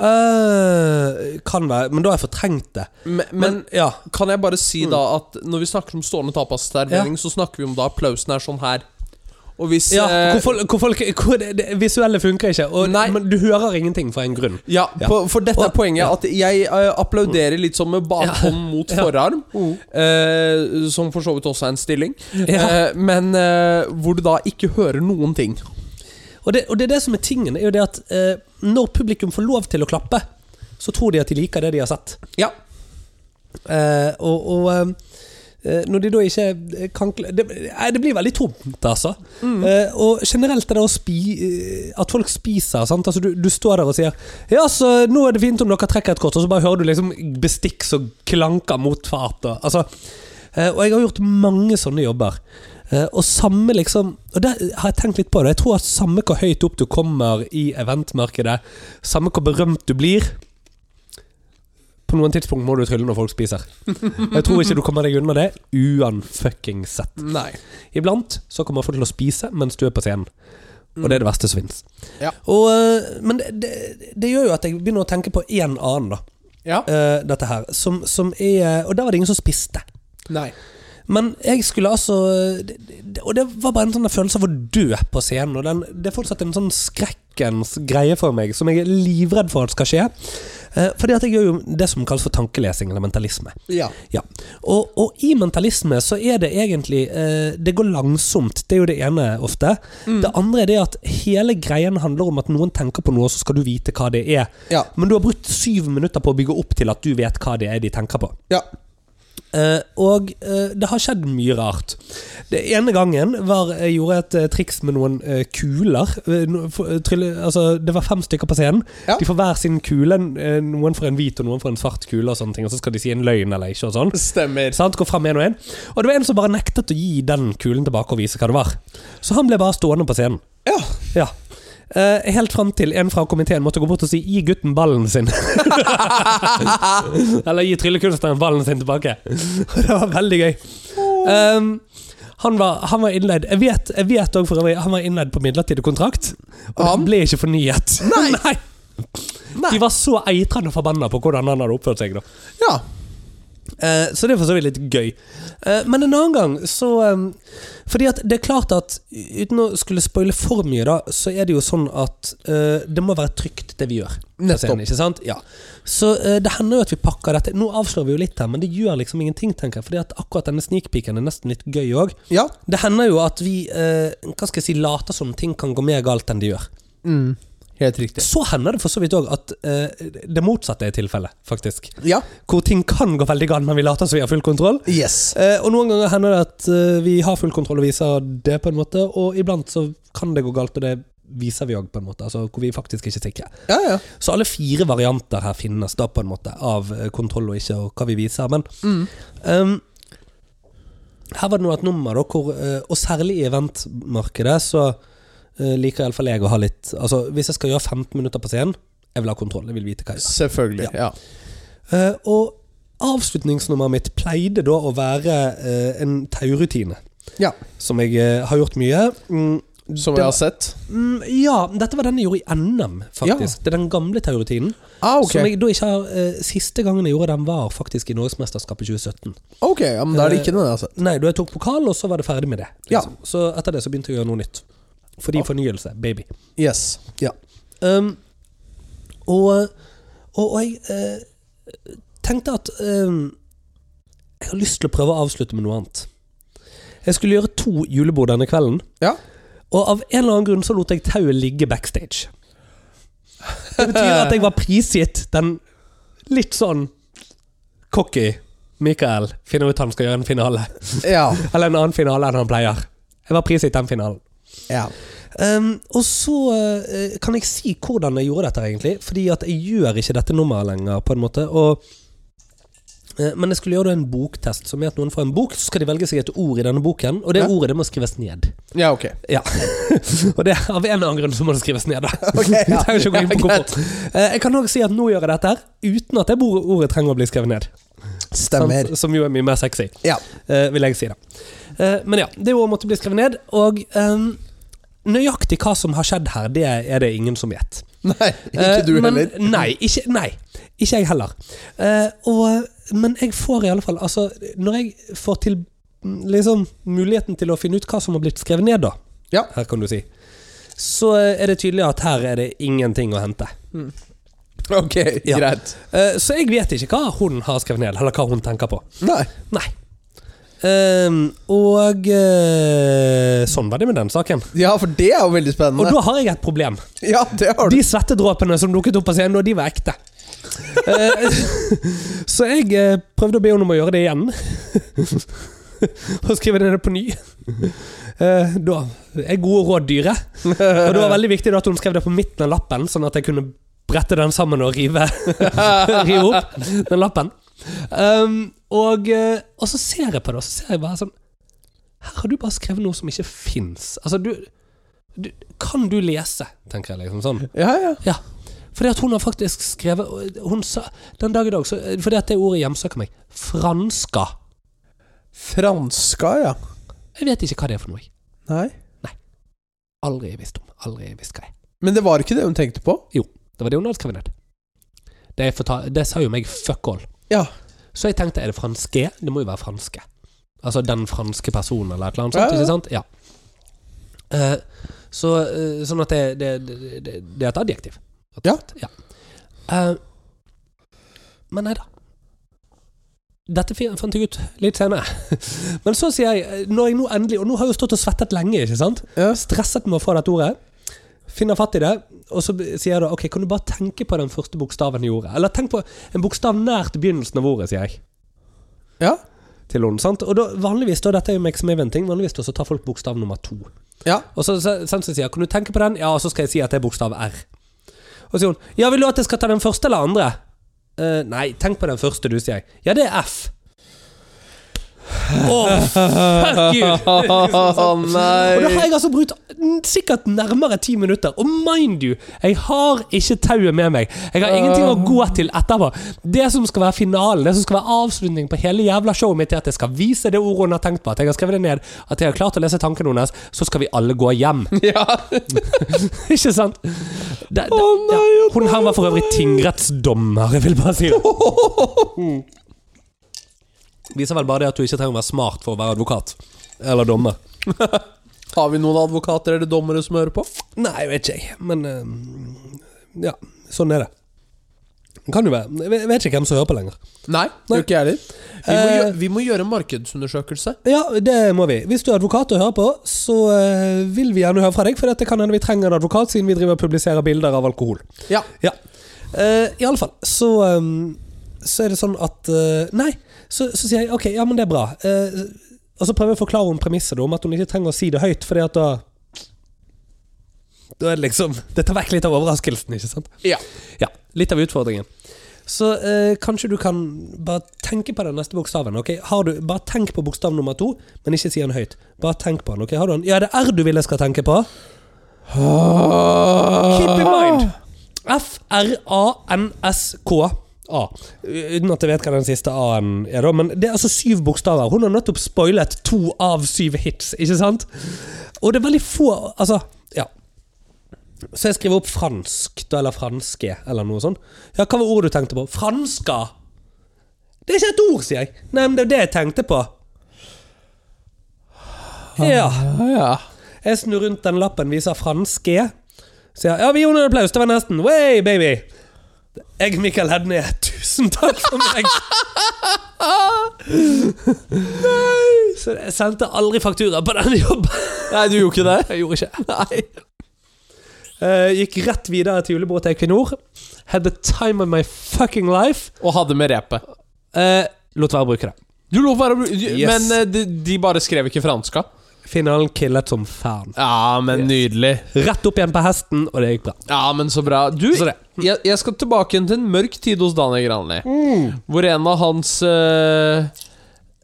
Speaker 2: Eh, kan være, men da har jeg fortrengt det.
Speaker 1: Men, men,
Speaker 2: Men, ja.
Speaker 1: kan jeg bare si da at når vi snakker om stående tapasservering, så snakker vi om da applausen er sånn her. Og hvis
Speaker 2: Ja,
Speaker 1: eh,
Speaker 2: hvor, folk, hvor, folk, hvor det, det visuelle funker ikke. Og,
Speaker 1: Nei.
Speaker 2: men du hører ingenting for en grunn.
Speaker 1: Ja,
Speaker 2: Ja.
Speaker 1: På, for dette er
Speaker 2: Og-
Speaker 1: poenget. At jeg eh, applauderer litt sånn med bakhånd mot forarm. eh, som for så vidt også er en stilling.
Speaker 2: Ja.
Speaker 1: Eh, men eh, hvor du da ikke hører noen ting.
Speaker 2: Og det, og det er det som er tingen, er jo det at eh, når publikum får lov til å klappe, så tror de at de liker det de har sett.
Speaker 1: Ja.
Speaker 2: Eh, og og eh, når de da ikke kan kl- det, nei, det blir veldig tomt, altså. Eh, og generelt er det å spi, eh, at folk spiser. Sant? Altså, du, du står der og sier Ja, så nå er det fint om dere trekker et kort, og så bare hører du liksom bestikk som klanker mot fatet. Altså, eh, og jeg har gjort mange sånne jobber. Eh, og samme liksom Og der har jeg tenkt litt på det. Jeg tror at samme hvor høyt opp du kommer i eventmarkedet, samme hvor berømt du blir På noen tidspunkt må du trylle når folk spiser. Jeg tror ikke du kommer deg unna det. Uanfuckingsett.
Speaker 1: Nei.
Speaker 2: Iblant så kommer folk til å spise mens du er på scenen. Og det er det verste som finnes.
Speaker 1: Ja.
Speaker 2: Og, eh, men det, det, det gjør jo at jeg begynner å tenke på en annen, da.
Speaker 1: Ja.
Speaker 2: eh, dette her. Som, som er Og der var det ingen som spiste.
Speaker 1: Nei.
Speaker 2: Men jeg skulle altså det- det- Og det var bare en sånn følelse av å dø på scenen. Og den, det er fortsatt en sånn skrekkens greie for meg, som jeg er livredd for at skal skje. Eh, Fordi at jeg gjør jo det som kalles for tankelesing, eller mentalisme.
Speaker 1: Ja.
Speaker 2: Ja. Og, og i mentalisme så er det egentlig eh, Det går langsomt. Det er jo det ene ofte. Det andre er det at hele greien handler om at noen tenker på noe, så skal du vite hva det er.
Speaker 1: Ja.
Speaker 2: Men du har brukt syv minutter på å bygge opp til at du vet hva det er de tenker på.
Speaker 1: Ja.
Speaker 2: Eh, og eh, det har skjedd mye rart. Det ene gangen var jeg gjorde et eh, triks med noen eh, kuler. Eh, no- for- eh, trylle, altså, det var fem stykker på scenen.
Speaker 1: Ja.
Speaker 2: De får hver sin kule. en- eh, Noen får en hvit og noen får en svart kule, og sånne ting Og så skal de si en løgn eller ikke. og sånn
Speaker 1: Stemmer.
Speaker 2: Sant? Gå frem en og en. Og det var en som bare nektet å gi den kulen tilbake og vise hva det var. Så han ble bare stående på scenen.
Speaker 1: Ja.
Speaker 2: Ja. Eh, helt frem til en fra komiteen måtte gå bort og si 'gi gutten ballen sin'. Eller gi tryllekunstneren ballen sin tilbake. Og det var veldig gøy. Ehm, han var, han var innleid Jeg vet, jeg vet også for øvrig han var innleid på midlertidig kontrakt. Og
Speaker 1: Han?
Speaker 2: han ble ikke fornyet.
Speaker 1: Nei.
Speaker 2: Nei. De var så eitrende forbanna på hvordan han hadde oppført seg. da
Speaker 1: Ja.
Speaker 2: Eh, Så det er for så vidt litt gøy. Eh, Men en annen gang så eh, Fordi at det er klart at uten å skulle spoile for mye, da, så er det jo sånn at eh, det må være trygt, det vi gjør. på
Speaker 1: Nettopp.
Speaker 2: scenen, Ikke sant? Ja. Så eh, det hender jo at vi pakker dette Nå avslører vi jo litt her, men det gjør liksom ingenting, tenker jeg. Fordi at akkurat denne snikpiken er nesten litt gøy òg.
Speaker 1: Ja.
Speaker 2: Det hender jo at vi eh, hva skal jeg si, later som ting kan gå mer galt enn de gjør.
Speaker 1: Mm. Helt riktig.
Speaker 2: Så hender det for så vidt òg at eh, det motsatte er tilfellet, faktisk.
Speaker 1: Ja.
Speaker 2: Hvor ting kan gå veldig galt, men vi later som vi har full kontroll.
Speaker 1: Yes.
Speaker 2: Eh, og noen ganger hender det at eh, vi har full kontroll og viser det, på en måte. Og iblant så kan det gå galt, og det viser vi òg, på en måte. Altså hvor vi faktisk ikke er sikre.
Speaker 1: Ja, ja.
Speaker 2: Så alle fire varianter her finnes da, på en måte, av eh, kontroll og ikke, og hva vi viser. Men ehm, her var det nå et nummer, da, hvor, eh, og særlig i eventmarkedet, så eh, liker iallfall jeg å ha litt Altså, hvis jeg skal gjøre 15 minutter på scenen, jeg vil ha kontroll, jeg vil vite hva jeg gjør.
Speaker 1: Selvfølgelig. Ja.
Speaker 2: Eh, og avslutningsnummeret mitt pleide da å være eh, en taurutine,
Speaker 1: ja.
Speaker 2: som jeg eh, har gjort mye. Mm,
Speaker 1: Som
Speaker 2: Det var-
Speaker 1: vi har sett.
Speaker 2: mm, ja, dette var den jeg gjorde i NM, faktisk. Det er den gamle taurutinen.
Speaker 1: Ah, ok.
Speaker 2: Som jeg da ikke har eh, Siste gangen jeg gjorde den, var faktisk i Norgesmesterskapet 2017.
Speaker 1: Ok, ja, men da er det ikke den jeg har sett.
Speaker 2: Nei, da jeg tok pokal, og så var det ferdig med det. liksom.
Speaker 1: Ja.
Speaker 2: Så etter det så begynte jeg å gjøre noe nytt. Fordi fornyelse, baby.
Speaker 1: Yes.
Speaker 2: Ja. Um, og, øh, og, og jeg eh, tenkte at ehm, Jeg har lyst til å prøve å avslutte med noe annet. Jeg skulle gjøre to julebord denne kvelden,
Speaker 1: Ja.
Speaker 2: og av en eller annen grunn så lot jeg tauet ligge backstage. Det betyr at jeg var prisgitt den litt sånn cocky Michael finner ut han skal gjøre en finale.
Speaker 1: Ja.
Speaker 2: Eller en annen finale enn han pleier. Jeg var prisgitt den finalen.
Speaker 1: ja.
Speaker 2: Ehm, og så eh, kan jeg si hvordan jeg gjorde dette, egentlig. Fordi at jeg gjør ikke dette nummeret lenger, på en måte. Og, eh, men jeg skulle gjøre det en boktest, som er at noen får en bok, så skal de velge seg et ord i denne boken, og det
Speaker 1: Ja.
Speaker 2: ordet det må skrives ned.
Speaker 1: Ja, ok.
Speaker 2: Ja. og det, av en eller annen grunn så må det skrives ned, da.
Speaker 1: Ok,
Speaker 2: Vi
Speaker 1: ja.
Speaker 2: trenger ikke å gå inn på
Speaker 1: Ja, greit.
Speaker 2: hvorfor. Eh, jeg kan òg si at nå gjør jeg dette her uten at det bor- ordet trenger å bli skrevet ned.
Speaker 1: Stemmer.
Speaker 2: Sant? Som jo er mye mer sexy.
Speaker 1: Ja.
Speaker 2: Eh, vil jeg si da. Eh, men ja, det ordet måtte bli skrevet ned, og ehm, nøyaktig hva som har skjedd her, det er det ingen som vet.
Speaker 1: Nei,
Speaker 2: Eh,
Speaker 1: ikke du
Speaker 2: men,
Speaker 1: heller.
Speaker 2: Nei, ikke, nei, ikke jeg heller. Eh, og, men jeg får i alle fall altså, Når jeg får til mm, liksom, muligheten til å finne ut hva som har blitt skrevet ned, da,
Speaker 1: Ja.
Speaker 2: Her kan du si. Så eh, er det tydelig at her er det ingenting å hente.
Speaker 1: Ok,
Speaker 2: Ja.
Speaker 1: greit.
Speaker 2: Eh, Så jeg vet ikke hva hun har skrevet ned, eller hva hun tenker på.
Speaker 1: Nei.
Speaker 2: Nei. Ehm, og eh, sånn var det med den saken.
Speaker 1: Ja, for det er jo veldig
Speaker 2: Og
Speaker 1: spennende.
Speaker 2: da har jeg et problem.
Speaker 1: Ja, det har du.
Speaker 2: De svettedråpene som dukket opp på scenen, og de var ekte. Eh, så jeg eh, prøvde å be henne om å gjøre det igjen. og skrive det ned på ny. Eh, da er gode råd dyre. Og
Speaker 1: Eh.
Speaker 2: det var veldig viktig da at hun skrev det på midten av lappen, sånn at jeg kunne brette den sammen og rive, rive opp den lappen. Um, og, eh, og så ser jeg på det, og så ser jeg bare sånn Her har du bare skrevet noe som ikke fins. Altså, du, du Kan du lese? tenker jeg liksom sånn.
Speaker 1: Ja, ja.
Speaker 2: Ja. Fordi at hun har faktisk skrevet Hun sa Den dag i dag så, Fordi at det ordet hjemsøker meg. Franska.
Speaker 1: Franska, ja.
Speaker 2: Jeg vet ikke hva det er for noe. jeg.
Speaker 1: Nei.
Speaker 2: Aldri visst om. Aldri visst hva det er.
Speaker 1: Men det var ikke det hun tenkte på.
Speaker 2: Det var det hun hadde skrevet ned. Det, forta- det sa jo meg fuck all.
Speaker 1: Ja.
Speaker 2: Så jeg tenkte, er det franske? Det må jo være franske. Altså den franske personen, eller et eller annet
Speaker 1: Ja,
Speaker 2: sånt.
Speaker 1: ja, ja.
Speaker 2: Ikke sant? Ja. Eh, så, eh, sånn at det, det, det, det, det er et adjektiv. rett og
Speaker 1: Ja.
Speaker 2: slett. ja. Eh, men nei da. Dette fi- fant jeg ut litt senere. Men så sier jeg, eh, når jeg nå endelig Og nå har jeg jo stått og svettet lenge, ikke sant?
Speaker 1: Ja.
Speaker 2: Stresset med å få dette ordet. Finner fatt i det, og så b- sier jeg da OK, kan du bare tenke på den første bokstaven i ordet? Eller tenk på en bokstav nært begynnelsen av ordet, sier jeg
Speaker 1: Ja.
Speaker 2: til henne. Sant? Og da, vanligvis, da, dette er jo meg som event-ting, vanligvis da, så tar folk bokstav nummer to.
Speaker 1: Ja.
Speaker 2: Og så, så, sånn som jeg sier, kan du tenke på den? Ja, og så skal jeg si at det er bokstav R. Og så sier hun, ja, vil du at jeg skal ta den første eller andre? «Eh, nei, tenk på den første du, sier jeg. Ja, det er F. Åh, fuck you!
Speaker 1: Å,
Speaker 2: Og da har
Speaker 1: nei.
Speaker 2: jeg altså brukt n- sikkert nærmere ti minutter. Og mind you, jeg har ikke tauet med meg. Jeg har ingenting å gå
Speaker 1: Ah.
Speaker 2: til etterpå. Det som skal være finalen, det som skal være avslutningen på hele jævla showet mitt, er at jeg skal vise det ordet hun har tenkt på, at jeg har skrevet det ned, at jeg har klart å lese tankene hennes, så skal vi alle gå hjem.
Speaker 1: Ja.
Speaker 2: ikke sant? Det, det,
Speaker 1: Å, nei, å,
Speaker 2: Hun her var for øvrig tingrettsdommer, jeg vil bare si det. Viser vel bare det at du ikke trenger å være smart for å være advokat. Eller dommer.
Speaker 1: Har vi noen advokater eller dommere som hører på?
Speaker 2: Nei, jeg vet ikke, jeg. men eh, Ja, sånn er det. Det Kan jo være. Jeg vet- Jeg vet ikke hvem som hører på lenger.
Speaker 1: Nei, det
Speaker 2: Nei.
Speaker 1: gjør ikke jeg heller. Vi, må
Speaker 2: Eh.
Speaker 1: gjø- vi må gjøre en markedsundersøkelse.
Speaker 2: Ja, det må vi. Hvis du er advokat og hører på, så eh, vil vi gjerne høre fra deg, for dette kan hende vi trenger en advokat siden vi driver og publiserer bilder av alkohol.
Speaker 1: Ja.
Speaker 2: Ja. Uh, Iallfall, så eh, Så er det sånn at eh, Nei, så, så sier jeg OK, ja, men det er bra. Eh, og så prøver jeg å forklare henne premisset da, om at hun ikke trenger å si det høyt, fordi at da Da er det liksom Det tar vekk litt av overraskelsen, ikke sant?
Speaker 1: Ja.
Speaker 2: Ja, litt av utfordringen. Så eh, kanskje du kan bare tenke på den neste bokstaven. ok? Har du, bare tenk på bokstav nummer to, men ikke si den høyt. Bare tenk på den. ok? Har du den? Ja, det er R du vil jeg skal tenke på. Keep in
Speaker 1: Ah.
Speaker 2: mind. F-R-A-N-S-K-A. Uten at jeg vet hva den siste A-en er, da. Men det er altså syv bokstaver. Hun har nettopp spoilet to av syv hits, ikke sant? Og det er veldig få Altså, ja. Så jeg skriver opp fransk, da, eller franske, eller noe sånt. Ja, hva var ordet du tenkte på? Franska! Det er ikke et ord, sier jeg. Nei, men det er det jeg tenkte på. Ja.
Speaker 1: Ah, ja.
Speaker 2: Jeg snur rundt den lappen, viser franske. Sier ja, vi gir henne en applaus, det var nesten. Way, baby! Jeg, Mikael Hedne, tusen takk for meg! Så jeg sendte aldri faktura på den jobben.
Speaker 1: Nei, du gjorde ikke det?
Speaker 2: Jeg gjorde ikke. Nei. Eh, gikk rett videre til julebord til Equinor. Had the time of my fucking life.
Speaker 1: Og hadde med repet.
Speaker 2: Eh, lot være å bruke det.
Speaker 1: Du lå bare å bru- du-
Speaker 2: Yes.
Speaker 1: Men eh, de, de bare skrev ikke franska?
Speaker 2: Finalen killet som fan.
Speaker 1: Ja, men nydelig.
Speaker 2: Rett opp igjen på hesten, og det gikk bra.
Speaker 1: Ja, men så bra. Du,
Speaker 2: Så det.
Speaker 1: jeg, jeg skal tilbake igjen til en mørk tid hos Daniel Granli. Hvor en av hans eh,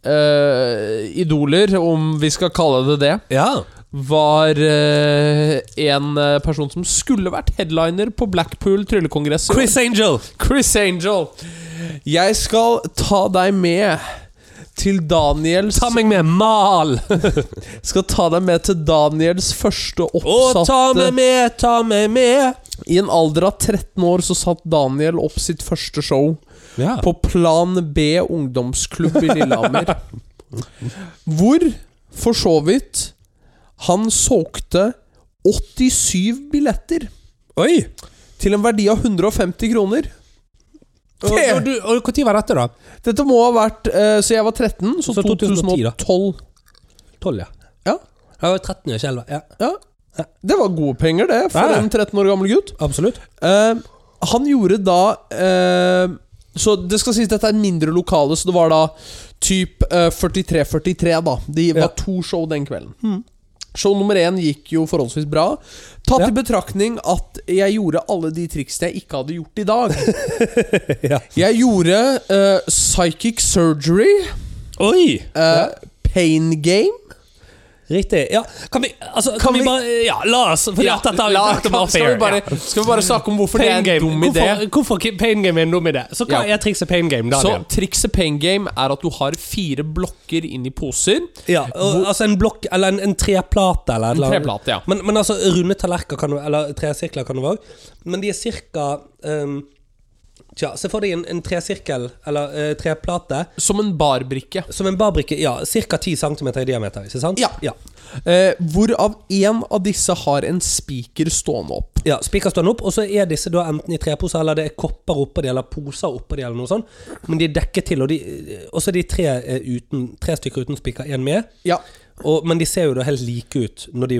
Speaker 1: eh, idoler, om vi skal kalle det det,
Speaker 2: Ja.
Speaker 1: var eh, en eh, person som skulle vært headliner på Blackpool tryllekongress. i år.
Speaker 2: Chris Angel.
Speaker 1: Chris Angel. Jeg skal ta deg med til Daniels
Speaker 2: Ta meg med mal!
Speaker 1: Skal ta deg med til Daniels første
Speaker 2: Og
Speaker 1: oppsatte
Speaker 2: ta meg med, ta meg med!
Speaker 1: I en alder av 13 år så satt Daniel opp sitt første show
Speaker 2: Ja.
Speaker 1: på Plan B ungdomsklubb i Lillehammer. Hvor, for så vidt, Han solgte 87 billetter
Speaker 2: Oi!
Speaker 1: til en verdi av 150 kroner.
Speaker 2: Og og du- og Når var dette, da?
Speaker 1: Dette må ha vært eh, Så jeg var 13, så,
Speaker 2: Så 2010 da.
Speaker 1: 2012.
Speaker 2: 12, ja.
Speaker 1: Ja,
Speaker 2: Jeg var 13 og ikke 11. Ja,
Speaker 1: ja. Det var gode penger, det, for
Speaker 2: Ja, ja.
Speaker 1: en 13 år gammel gutt.
Speaker 2: absolutt.
Speaker 1: Eh, han gjorde da eh, Så det skal sies dette er mindre lokale, så det var da typ 43-43, da. Det
Speaker 2: Ja.
Speaker 1: var
Speaker 2: Hmm.
Speaker 1: to show den kvelden. Show nummer én gikk jo forholdsvis bra. Tatt
Speaker 2: Ja.
Speaker 1: i betraktning at jeg gjorde alle de triksene jeg ikke hadde gjort i dag.
Speaker 2: Ja.
Speaker 1: Jeg gjorde eh, psychic surgery,
Speaker 2: Oi!
Speaker 1: eh, pain game
Speaker 2: Riktig. Ja, kan vi, altså, kan
Speaker 1: vi-
Speaker 2: vi bare Ja, la oss For
Speaker 1: Ja,
Speaker 2: dette har vi
Speaker 1: la-
Speaker 2: snakket om
Speaker 1: kan-
Speaker 2: off
Speaker 1: skal, vi
Speaker 2: air.
Speaker 1: bare,
Speaker 2: ja.
Speaker 1: skal vi bare snakke om hvorfor
Speaker 2: Pain
Speaker 1: det er en
Speaker 2: game.
Speaker 1: dum idé?
Speaker 2: Hvorfor, hvorfor ki- pain game er en dum idé? Så hva
Speaker 1: Ja.
Speaker 2: er trikset pain game,
Speaker 1: Så
Speaker 2: Daniel?
Speaker 1: trikset pain game er at du har fire blokker inn i poser.
Speaker 2: ja, og, altså en blokk eller en, en treplate eller et eller annet.
Speaker 1: treplate, ja.
Speaker 2: men, men altså runde tallerkener kan du Eller tresirkler kan du òg. Men de er cirka ehm, Tja, se for deg en, en tresirkel eller eh, treplate
Speaker 1: Som en barbrikke.
Speaker 2: som en barbrikke. Ja, ca. 10 cm i diameter, ikke sant?
Speaker 1: Ja.
Speaker 2: ja.
Speaker 1: Eh, hvorav én av disse har en spiker stående opp.
Speaker 2: Ja, spiker står den opp, og så er disse da enten i trepose, eller det er kopper oppå de, eller poser oppå de, eller noe sånt. Men de er dekket til, og, de, og så er de tre, eh, uten, tre stykker uten spiker, én med.
Speaker 1: Ja,
Speaker 2: Og, men de ser jo da helt like ut når de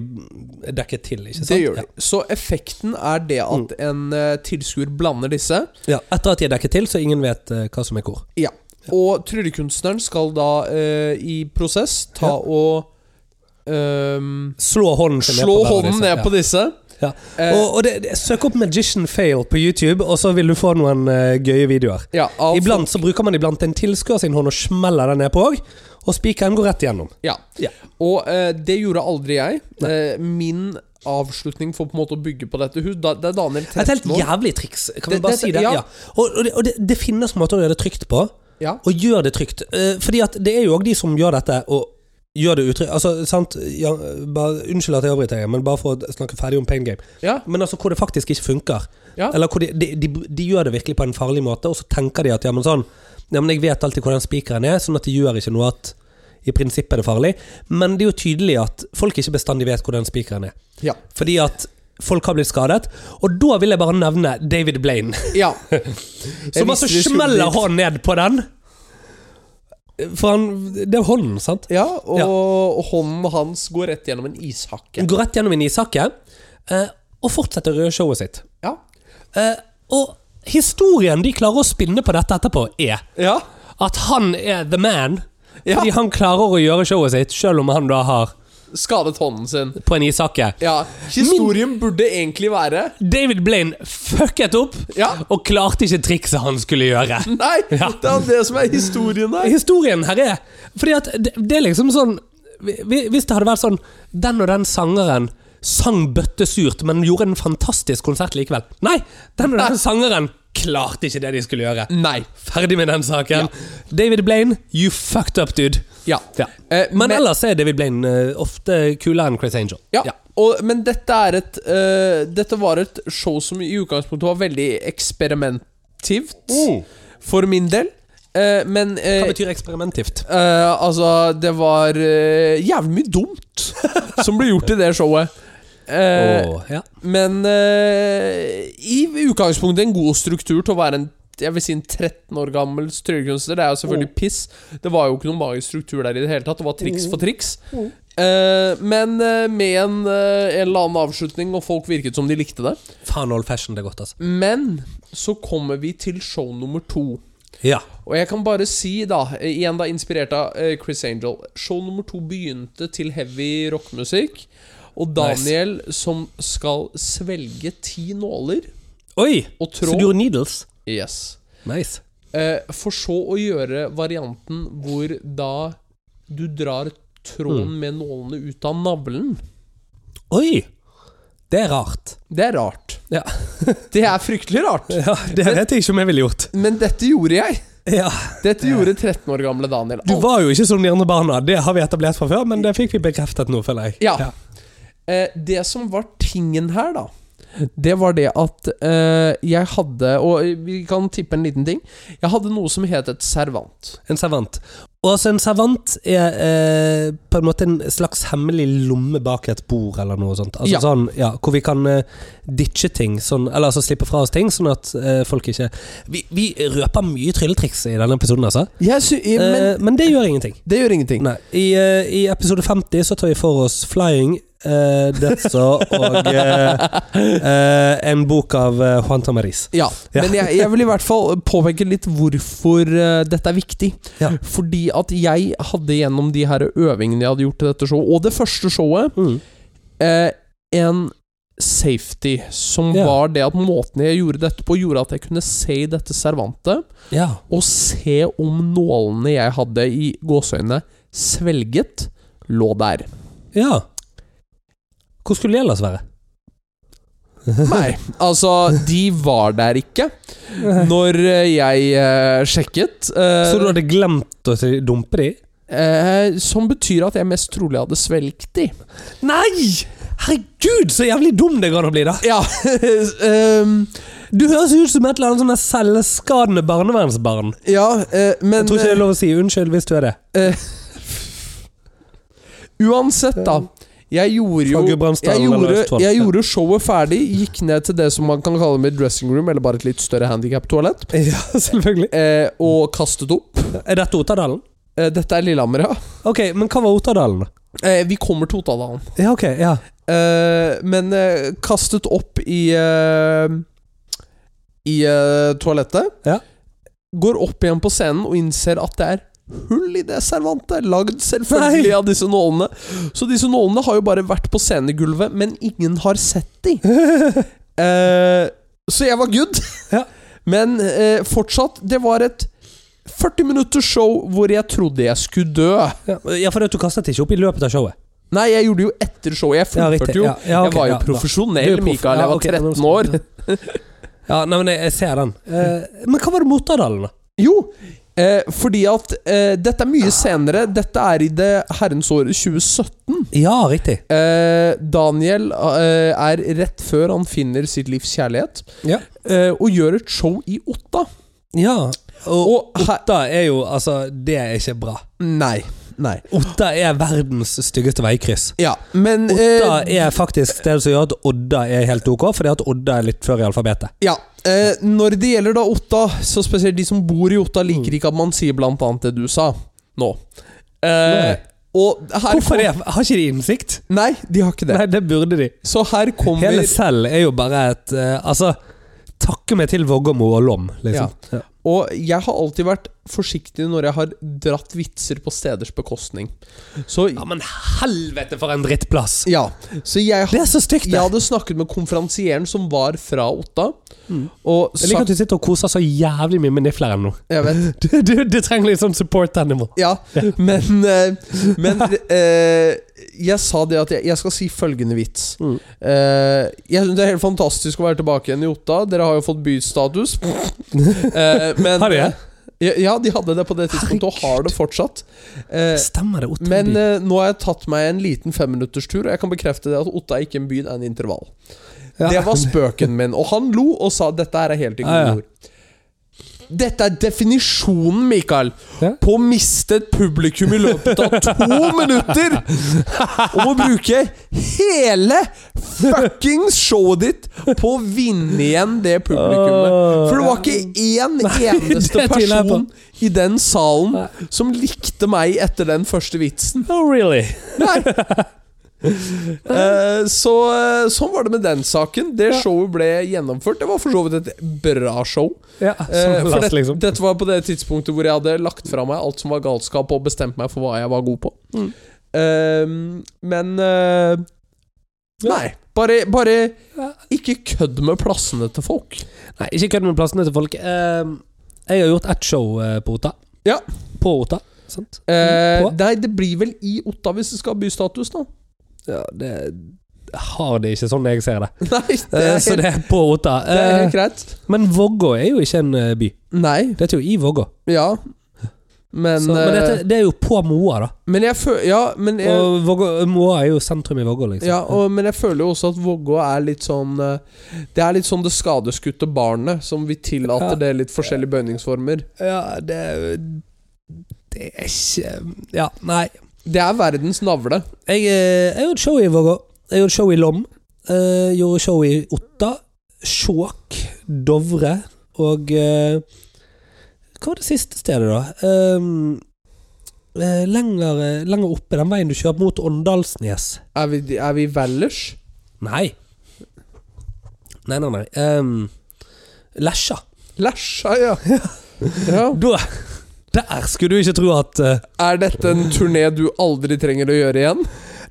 Speaker 2: er dekket til, ikke sant?
Speaker 1: det gjør de. Så effekten er det at en eh, tilskuer blander disse.
Speaker 2: Ja. ja, Etter at de er dekket til, så ingen vet eh, hva som er hvor.
Speaker 1: Ja. Og tryllekunstneren skal da eh, i prosess ta
Speaker 2: Ja.
Speaker 1: og ehm,
Speaker 2: Slå hånden sin
Speaker 1: slå
Speaker 2: hver av
Speaker 1: hånden
Speaker 2: disse.
Speaker 1: ned på disse.
Speaker 2: Ja. Ja.
Speaker 1: Eh,
Speaker 2: Og, og det, det, søk opp 'Magician Fail' på YouTube, og så vil du få noen eh, gøye videoer.
Speaker 1: Ja, av,
Speaker 2: Iblant så bruker man iblant en tilskuer sin hånd og smeller den nedpå òg, og spikeren går rett igjennom.
Speaker 1: ja.
Speaker 2: Ja.
Speaker 1: Og eh, det gjorde aldri jeg. Eh, min avslutning for på en måte å bygge på dette hus da, Det er Daniel
Speaker 2: Det er Et
Speaker 1: 13
Speaker 2: helt
Speaker 1: år.
Speaker 2: jævlig triks, kan vi
Speaker 1: Det-
Speaker 2: bare
Speaker 1: det-
Speaker 2: si det.
Speaker 1: ja.
Speaker 2: Ja. Og, og, det, og det, det finnes måter å gjøre det trygt på,
Speaker 1: Ja.
Speaker 2: og gjør det trygt. Eh, fordi at det er jo òg de som gjør dette og gjør det utrygt. Altså, sant? Ja, bare, unnskyld at jeg avbryter, jeg, men bare for å snakke ferdig om pain game.
Speaker 1: Ja.
Speaker 2: Men altså hvor det faktisk ikke funker.
Speaker 1: Ja.
Speaker 2: Eller hvor de, de, de, de gjør det virkelig på en farlig måte, og så tenker de at ja, men sånn Ja, men jeg vet alltid hvor den spikeren er, sånn at de gjør ikke noe at i prinsippet er det farlig. Men det er jo tydelig at folk ikke bestandig vet hvor den spikeren er.
Speaker 1: Ja.
Speaker 2: Fordi at folk har blitt skadet. Og da vil jeg bare nevne David Blaine.
Speaker 1: ja.
Speaker 2: Som altså smeller hånden ned på den. For han Det er hånden, sant?
Speaker 1: Ja, og hånden hans går rett gjennom en ishakke.
Speaker 2: Går rett gjennom en ishakke eh, og fortsetter å gjøre showet sitt.
Speaker 1: Ja.
Speaker 2: Eh, og historien de klarer å spinne på dette etterpå, er
Speaker 1: Ja.
Speaker 2: at han er the man.
Speaker 1: Ja.
Speaker 2: Fordi han klarer å gjøre showet sitt, selv om han da har
Speaker 1: Skadet hånden sin.
Speaker 2: på en ishakke.
Speaker 1: Ja. Historien burde egentlig være
Speaker 2: David Blaine fucket opp
Speaker 1: Ja.
Speaker 2: og klarte ikke trikset han skulle gjøre.
Speaker 1: Nei, det er det som er historien der.
Speaker 2: Historien her er Fordi at det, det er liksom sånn hvi- Hvis det hadde vært sånn Den og den sangeren sang bøttesurt, men gjorde en fantastisk konsert likevel. Nei! Den og den sangeren klarte ikke det de skulle gjøre.
Speaker 1: Nei.
Speaker 2: Ferdig med den saken. David Blaine, you fucked up, dude.
Speaker 1: Ja.
Speaker 2: Ja.
Speaker 1: Eh,
Speaker 2: Men ellers er David Blaine eh, ofte kulere enn Chris Angel.
Speaker 1: Ja. Og, men dette er et eh, Dette var et show som i utgangspunktet var veldig eksperimentivt. For min del. Eh, men eh,
Speaker 2: Oh. Hva betyr eksperimentivt?
Speaker 1: Eh, altså, det var eh, jævlig mye dumt som ble gjort i det showet. Eh,
Speaker 2: Åh, ja.
Speaker 1: Men eh, i utgangspunktet en god struktur til å være en jeg vil si en 13 år gammel tryllekunstner. Det er jo selvfølgelig piss. Det var jo ikke noen magisk struktur der i det hele tatt. Det var triks for triks. Eh, men eh, med en, eh, en eller annen avslutning, og folk virket som de likte det.
Speaker 2: Faen, old fashion det er godt, altså.
Speaker 1: Men så kommer vi til show nummer to.
Speaker 2: Ja.
Speaker 1: Og jeg kan bare si, da, eh, igjen da inspirert av eh, Chris Angel Show nummer to begynte til heavy rockmusikk. Og Daniel som skal svelge ti nåler
Speaker 2: Oi!
Speaker 1: og
Speaker 2: Så
Speaker 1: tråd
Speaker 2: du gjorde needles?
Speaker 1: Yes.
Speaker 2: Nice.
Speaker 1: Eh, for så å gjøre varianten hvor da du drar tråden med nålene ut av navlen.
Speaker 2: Oi! Det er rart.
Speaker 1: Det er rart.
Speaker 2: Ja.
Speaker 1: Det er fryktelig rart.
Speaker 2: Ja, Det vet jeg ikke om jeg ville gjort.
Speaker 1: Men dette gjorde jeg.
Speaker 2: Ja.
Speaker 1: Dette gjorde 13 år gamle Daniel.
Speaker 2: Du var jo ikke som de andre barna, det har vi etablert fra før, men det fikk vi bekreftet nå, føler jeg.
Speaker 1: Ja. Eh, det som var tingen her, da, det var det at eh, jeg hadde Og vi kan tippe en liten ting. Jeg hadde noe som het et servant.
Speaker 2: En servant. Og altså, en servant er eh, på en måte en slags hemmelig lomme bak et bord eller noe sånt. Altså
Speaker 1: Ja.
Speaker 2: sånn, ja, Hvor vi kan eh, ditche ting, sånn, eller altså slippe fra oss ting, sånn at eh, folk ikke vi, vi røper mye trylletriks i denne episoden, altså. Eh, men,
Speaker 1: men
Speaker 2: det gjør ingenting.
Speaker 1: det gjør ingenting.
Speaker 2: Nei. I, eh, I episode 50 så tar vi for oss Flying, eh, Deathsaw og eh, eh, en bok av eh, Juan Tamariz.
Speaker 1: Ja,
Speaker 2: Ja.
Speaker 1: men jeg, jeg vil i hvert fall påpeke litt hvorfor eh, dette er viktig.
Speaker 2: Ja.
Speaker 1: Fordi at jeg hadde gjennom de her øvingene jeg hadde gjort til dette showet, og det første showet,
Speaker 2: Mm.
Speaker 1: eh, en safety, som
Speaker 2: Ja.
Speaker 1: var det at måten jeg gjorde dette på, gjorde at jeg kunne se i dette servantet,
Speaker 2: Ja.
Speaker 1: og se om nålene jeg hadde i gåseøynene svelget, lå der.
Speaker 2: ja. Hvor skulle det ellers være?
Speaker 1: Nei, altså, de var der ikke når eh, jeg eh, sjekket. eh,
Speaker 2: Så du hadde glemt å si- dumpe de?
Speaker 1: Eh, som betyr at jeg mest trolig hadde svelgt de.
Speaker 2: Nei! Herregud, så jævlig dum det går an å bli, da!
Speaker 1: Ja, ehm,
Speaker 2: Du høres ut som et eller annet sånn der selvskadende barnevernsbarn.
Speaker 1: ja eh, men
Speaker 2: Jeg tror ikke det er lov å si unnskyld hvis du er det.
Speaker 1: eh, Uansett, da. Jeg gjorde jo
Speaker 2: Fra
Speaker 1: jeg
Speaker 2: Gudbrandsdalen eller
Speaker 1: gjorde,
Speaker 2: Østfold.
Speaker 1: jeg gjorde showet ferdig, gikk ned til det som man kan kalle med dressing room, eller bare et litt større handikap-toalett,
Speaker 2: Ja, selvfølgelig.
Speaker 1: eh, og kastet opp.
Speaker 2: Er dette Otadalen?
Speaker 1: Eh, dette er Lillehammer, ja.
Speaker 2: Ok, men hva var Otadalen, da?
Speaker 1: Eh, vi kommer til Ottadalen.
Speaker 2: Ja, ok, ja.
Speaker 1: Eh, men eh, kastet opp i eh, I eh, toalettet.
Speaker 2: Ja.
Speaker 1: Går opp igjen på scenen og innser at det er hull i det servantet. Lagd selvfølgelig
Speaker 2: Nei.
Speaker 1: av disse nålene. Så disse nålene har jo bare vært på scenegulvet, men ingen har sett de. Eh, så jeg var good.
Speaker 2: Ja.
Speaker 1: Men eh, fortsatt, det var et 40 minutters show hvor jeg trodde jeg skulle dø.
Speaker 2: Ja, ja for det at du kastet ikke opp i løpet av showet.
Speaker 1: Nei, jeg gjorde det jo etter showet. Jeg
Speaker 2: Ja,
Speaker 1: fullførte
Speaker 2: riktig.
Speaker 1: jo.
Speaker 2: Ja, ja, ok,
Speaker 1: jeg var jo
Speaker 2: ja, da.
Speaker 1: profesjonell,
Speaker 2: Du er proff.
Speaker 1: Mikael.
Speaker 2: Ja,
Speaker 1: Jeg var
Speaker 2: ok, nå
Speaker 1: 13 år.
Speaker 2: skal- Ja, nei, men jeg, jeg ser den. Eh, men hva var det med Otadalen, da?
Speaker 1: Jo, eh, fordi at eh, dette er mye senere. Dette er i det herrens året 2017.
Speaker 2: Ja, riktig.
Speaker 1: Eh, Daniel eh, er rett før han finner sitt livs kjærlighet,
Speaker 2: Ja.
Speaker 1: eh, og gjør et show i Otta.
Speaker 2: ja. Og,
Speaker 1: Og her
Speaker 2: Otta er jo Altså, det er ikke bra.
Speaker 1: Nei. Nei.
Speaker 2: Otta er verdens styggeste veikryss.
Speaker 1: Ja, men
Speaker 2: Otta
Speaker 1: eh,
Speaker 2: er faktisk stedet som gjør at Odda er helt ok, fordi at Odda er litt før i alfabetet.
Speaker 1: ja, eh, Når det gjelder da Otta, så spesielt de som bor i Otta,
Speaker 2: Mm.
Speaker 1: liker ikke at man sier blant annet det du sa nå. Eh,
Speaker 2: Nei.
Speaker 1: og her
Speaker 2: Hvorfor det? Har ikke de innsikt?
Speaker 1: Nei, de har ikke det.
Speaker 2: Nei, det burde de.
Speaker 1: Så her kommer
Speaker 2: Hele Selv er jo bare et eh, Altså, takke meg til Vågåmo og Lom, liksom. Ja.
Speaker 1: Og jeg har alltid vært forsiktig når jeg har dratt vitser på steders bekostning. Så
Speaker 2: men helvete for en drittplass!
Speaker 1: ja. Så jeg,
Speaker 2: Det er så stygt,
Speaker 1: jeg
Speaker 2: det.
Speaker 1: hadde snakket med konferansieren som var fra Otta, og
Speaker 2: Mm. Jeg liker
Speaker 1: sagt
Speaker 2: at du sitter og koser så jævlig mye med nifler ennå.
Speaker 1: Jeg vet.
Speaker 2: Du, du, du trenger litt sånn support animal.
Speaker 1: Ja, men, eh, men eh, Jeg sa det at jeg, jeg skal si følgende vits.
Speaker 2: Mm.
Speaker 1: Eh, jeg synes Det er helt fantastisk å være tilbake igjen i Otta. Dere har jo fått bystatus. Eh, men,
Speaker 2: Har de det?
Speaker 1: Ja, ja, de hadde det på det tidspunktet, og har det fortsatt. Eh,
Speaker 2: Stemmer det, Otta?
Speaker 1: Men
Speaker 2: by?
Speaker 1: eh, nå har jeg tatt meg en liten femminutterstur, og jeg kan bekrefte det at Otta er ikke en by, det er en intervall.
Speaker 2: Ja.
Speaker 1: Det var spøken min, og han lo og sa dette her er helt
Speaker 2: Ja, ja.
Speaker 1: ignorord. Dette er definisjonen, Mikael,
Speaker 2: Ja.
Speaker 1: på å miste et publikum i løpet av to minutter! Om å bruke hele fuckings showet ditt på å vinne igjen det publikummet.
Speaker 2: Åh.
Speaker 1: For det var ikke én eneste
Speaker 2: det tviler jeg på.
Speaker 1: person i den salen
Speaker 2: Nei.
Speaker 1: som likte meg etter den første vitsen.
Speaker 2: Oh, really?
Speaker 1: Nei. Eh, så eh, sånn var det med den saken. Det
Speaker 2: Ja.
Speaker 1: showet ble gjennomført. Det var for så vidt et bra show.
Speaker 2: Ja,
Speaker 1: Eh,
Speaker 2: sånn
Speaker 1: for
Speaker 2: last,
Speaker 1: det,
Speaker 2: liksom.
Speaker 1: Dette var på det tidspunktet hvor jeg hadde lagt fra meg alt som var galskap, og bestemt meg for hva jeg var god på.
Speaker 2: Mm.
Speaker 1: Eh, men eh,
Speaker 2: Ja.
Speaker 1: Nei. Bare, bare
Speaker 2: Ja.
Speaker 1: ikke kødd med plassene til folk.
Speaker 2: Nei, ikke kødd med plassene til folk. Eh, jeg har gjort ett show eh, på Otta.
Speaker 1: Ja.
Speaker 2: På Otta, sant?
Speaker 1: Eh,
Speaker 2: På?
Speaker 1: nei, det blir vel i Otta hvis det skal ha bystatus, da.
Speaker 2: Ja, det har det ikke sånn jeg ser det.
Speaker 1: Nei, det
Speaker 2: Eh,
Speaker 1: er
Speaker 2: så
Speaker 1: helt,
Speaker 2: det er på Otta.
Speaker 1: det er
Speaker 2: Eh,
Speaker 1: helt greit.
Speaker 2: men Vågå er jo ikke en eh, by.
Speaker 1: Nei.
Speaker 2: Det heter jo i Vågå.
Speaker 1: Ja. Men,
Speaker 2: Så, men
Speaker 1: eh,
Speaker 2: dette, det er jo på Moa, da.
Speaker 1: men jeg føler Ja, men jeg,
Speaker 2: Og Vågå, Moa er jo sentrum i Vågå, liksom.
Speaker 1: ja og, men jeg føler jo også at Vågå er litt sånn eh, Det er litt sånn det skadeskutte barnet, som vi tillater
Speaker 2: Ja.
Speaker 1: det litt forskjellige bøyningsformer.
Speaker 2: Ja, det Det er ikke Ja, nei.
Speaker 1: Det er verdens navle.
Speaker 2: Jeg, eh, jeg gjorde show i Vågå. Jeg gjorde show i Lom. Eh, gjorde show i Otta. Skjåk, Dovre og eh, Hva var det siste stedet, da? Um, eh, lenger, eh, lenger oppe, den veien du kjører mot Åndalsnes.
Speaker 1: Er vi, er vi Vallers?
Speaker 2: Nei. Nei, nei, nei. Um, Lesja.
Speaker 1: Læsja, ja. ja.
Speaker 2: Da Der skulle du ikke tro at eh,
Speaker 1: Er dette en turné du aldri trenger å gjøre igjen?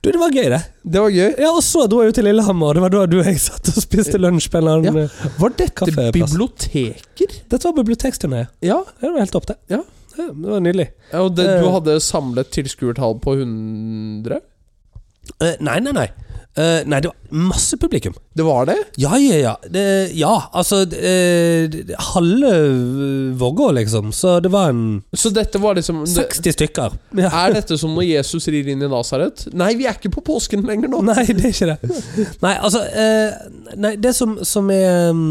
Speaker 2: Du, det var gøy, det.
Speaker 1: Det var gøy.
Speaker 2: Ja, og så dro jeg jo til Lillehammer, og det var da du og jeg satt og spiste lunsj på en eller annen eh,
Speaker 1: Var dette
Speaker 2: Kaffeplass.
Speaker 1: biblioteker?
Speaker 2: Dette var biblioteksturné.
Speaker 1: Ja.
Speaker 2: Det var helt topp, det.
Speaker 1: Ja.
Speaker 2: Ja, Det var nydelig.
Speaker 1: Og det, du
Speaker 2: Eh.
Speaker 1: hadde samlet tilskuertall på 100?
Speaker 2: Eh, nei, nei, nei. Eh, nei, det var masse publikum.
Speaker 1: Det var det?
Speaker 2: Ja, ja, ja. Det, ja, altså eh, det- Halve eh, Vågå, liksom. Så det var en
Speaker 1: Så dette var liksom det,
Speaker 2: 60 stykker. Ja.
Speaker 1: Er dette som når Jesus rir inn i Nasaret? Nei, vi er ikke på påsken lenger nå.
Speaker 2: Nei, det er ikke det. Nei, altså eh, Nei, det som, som er mm,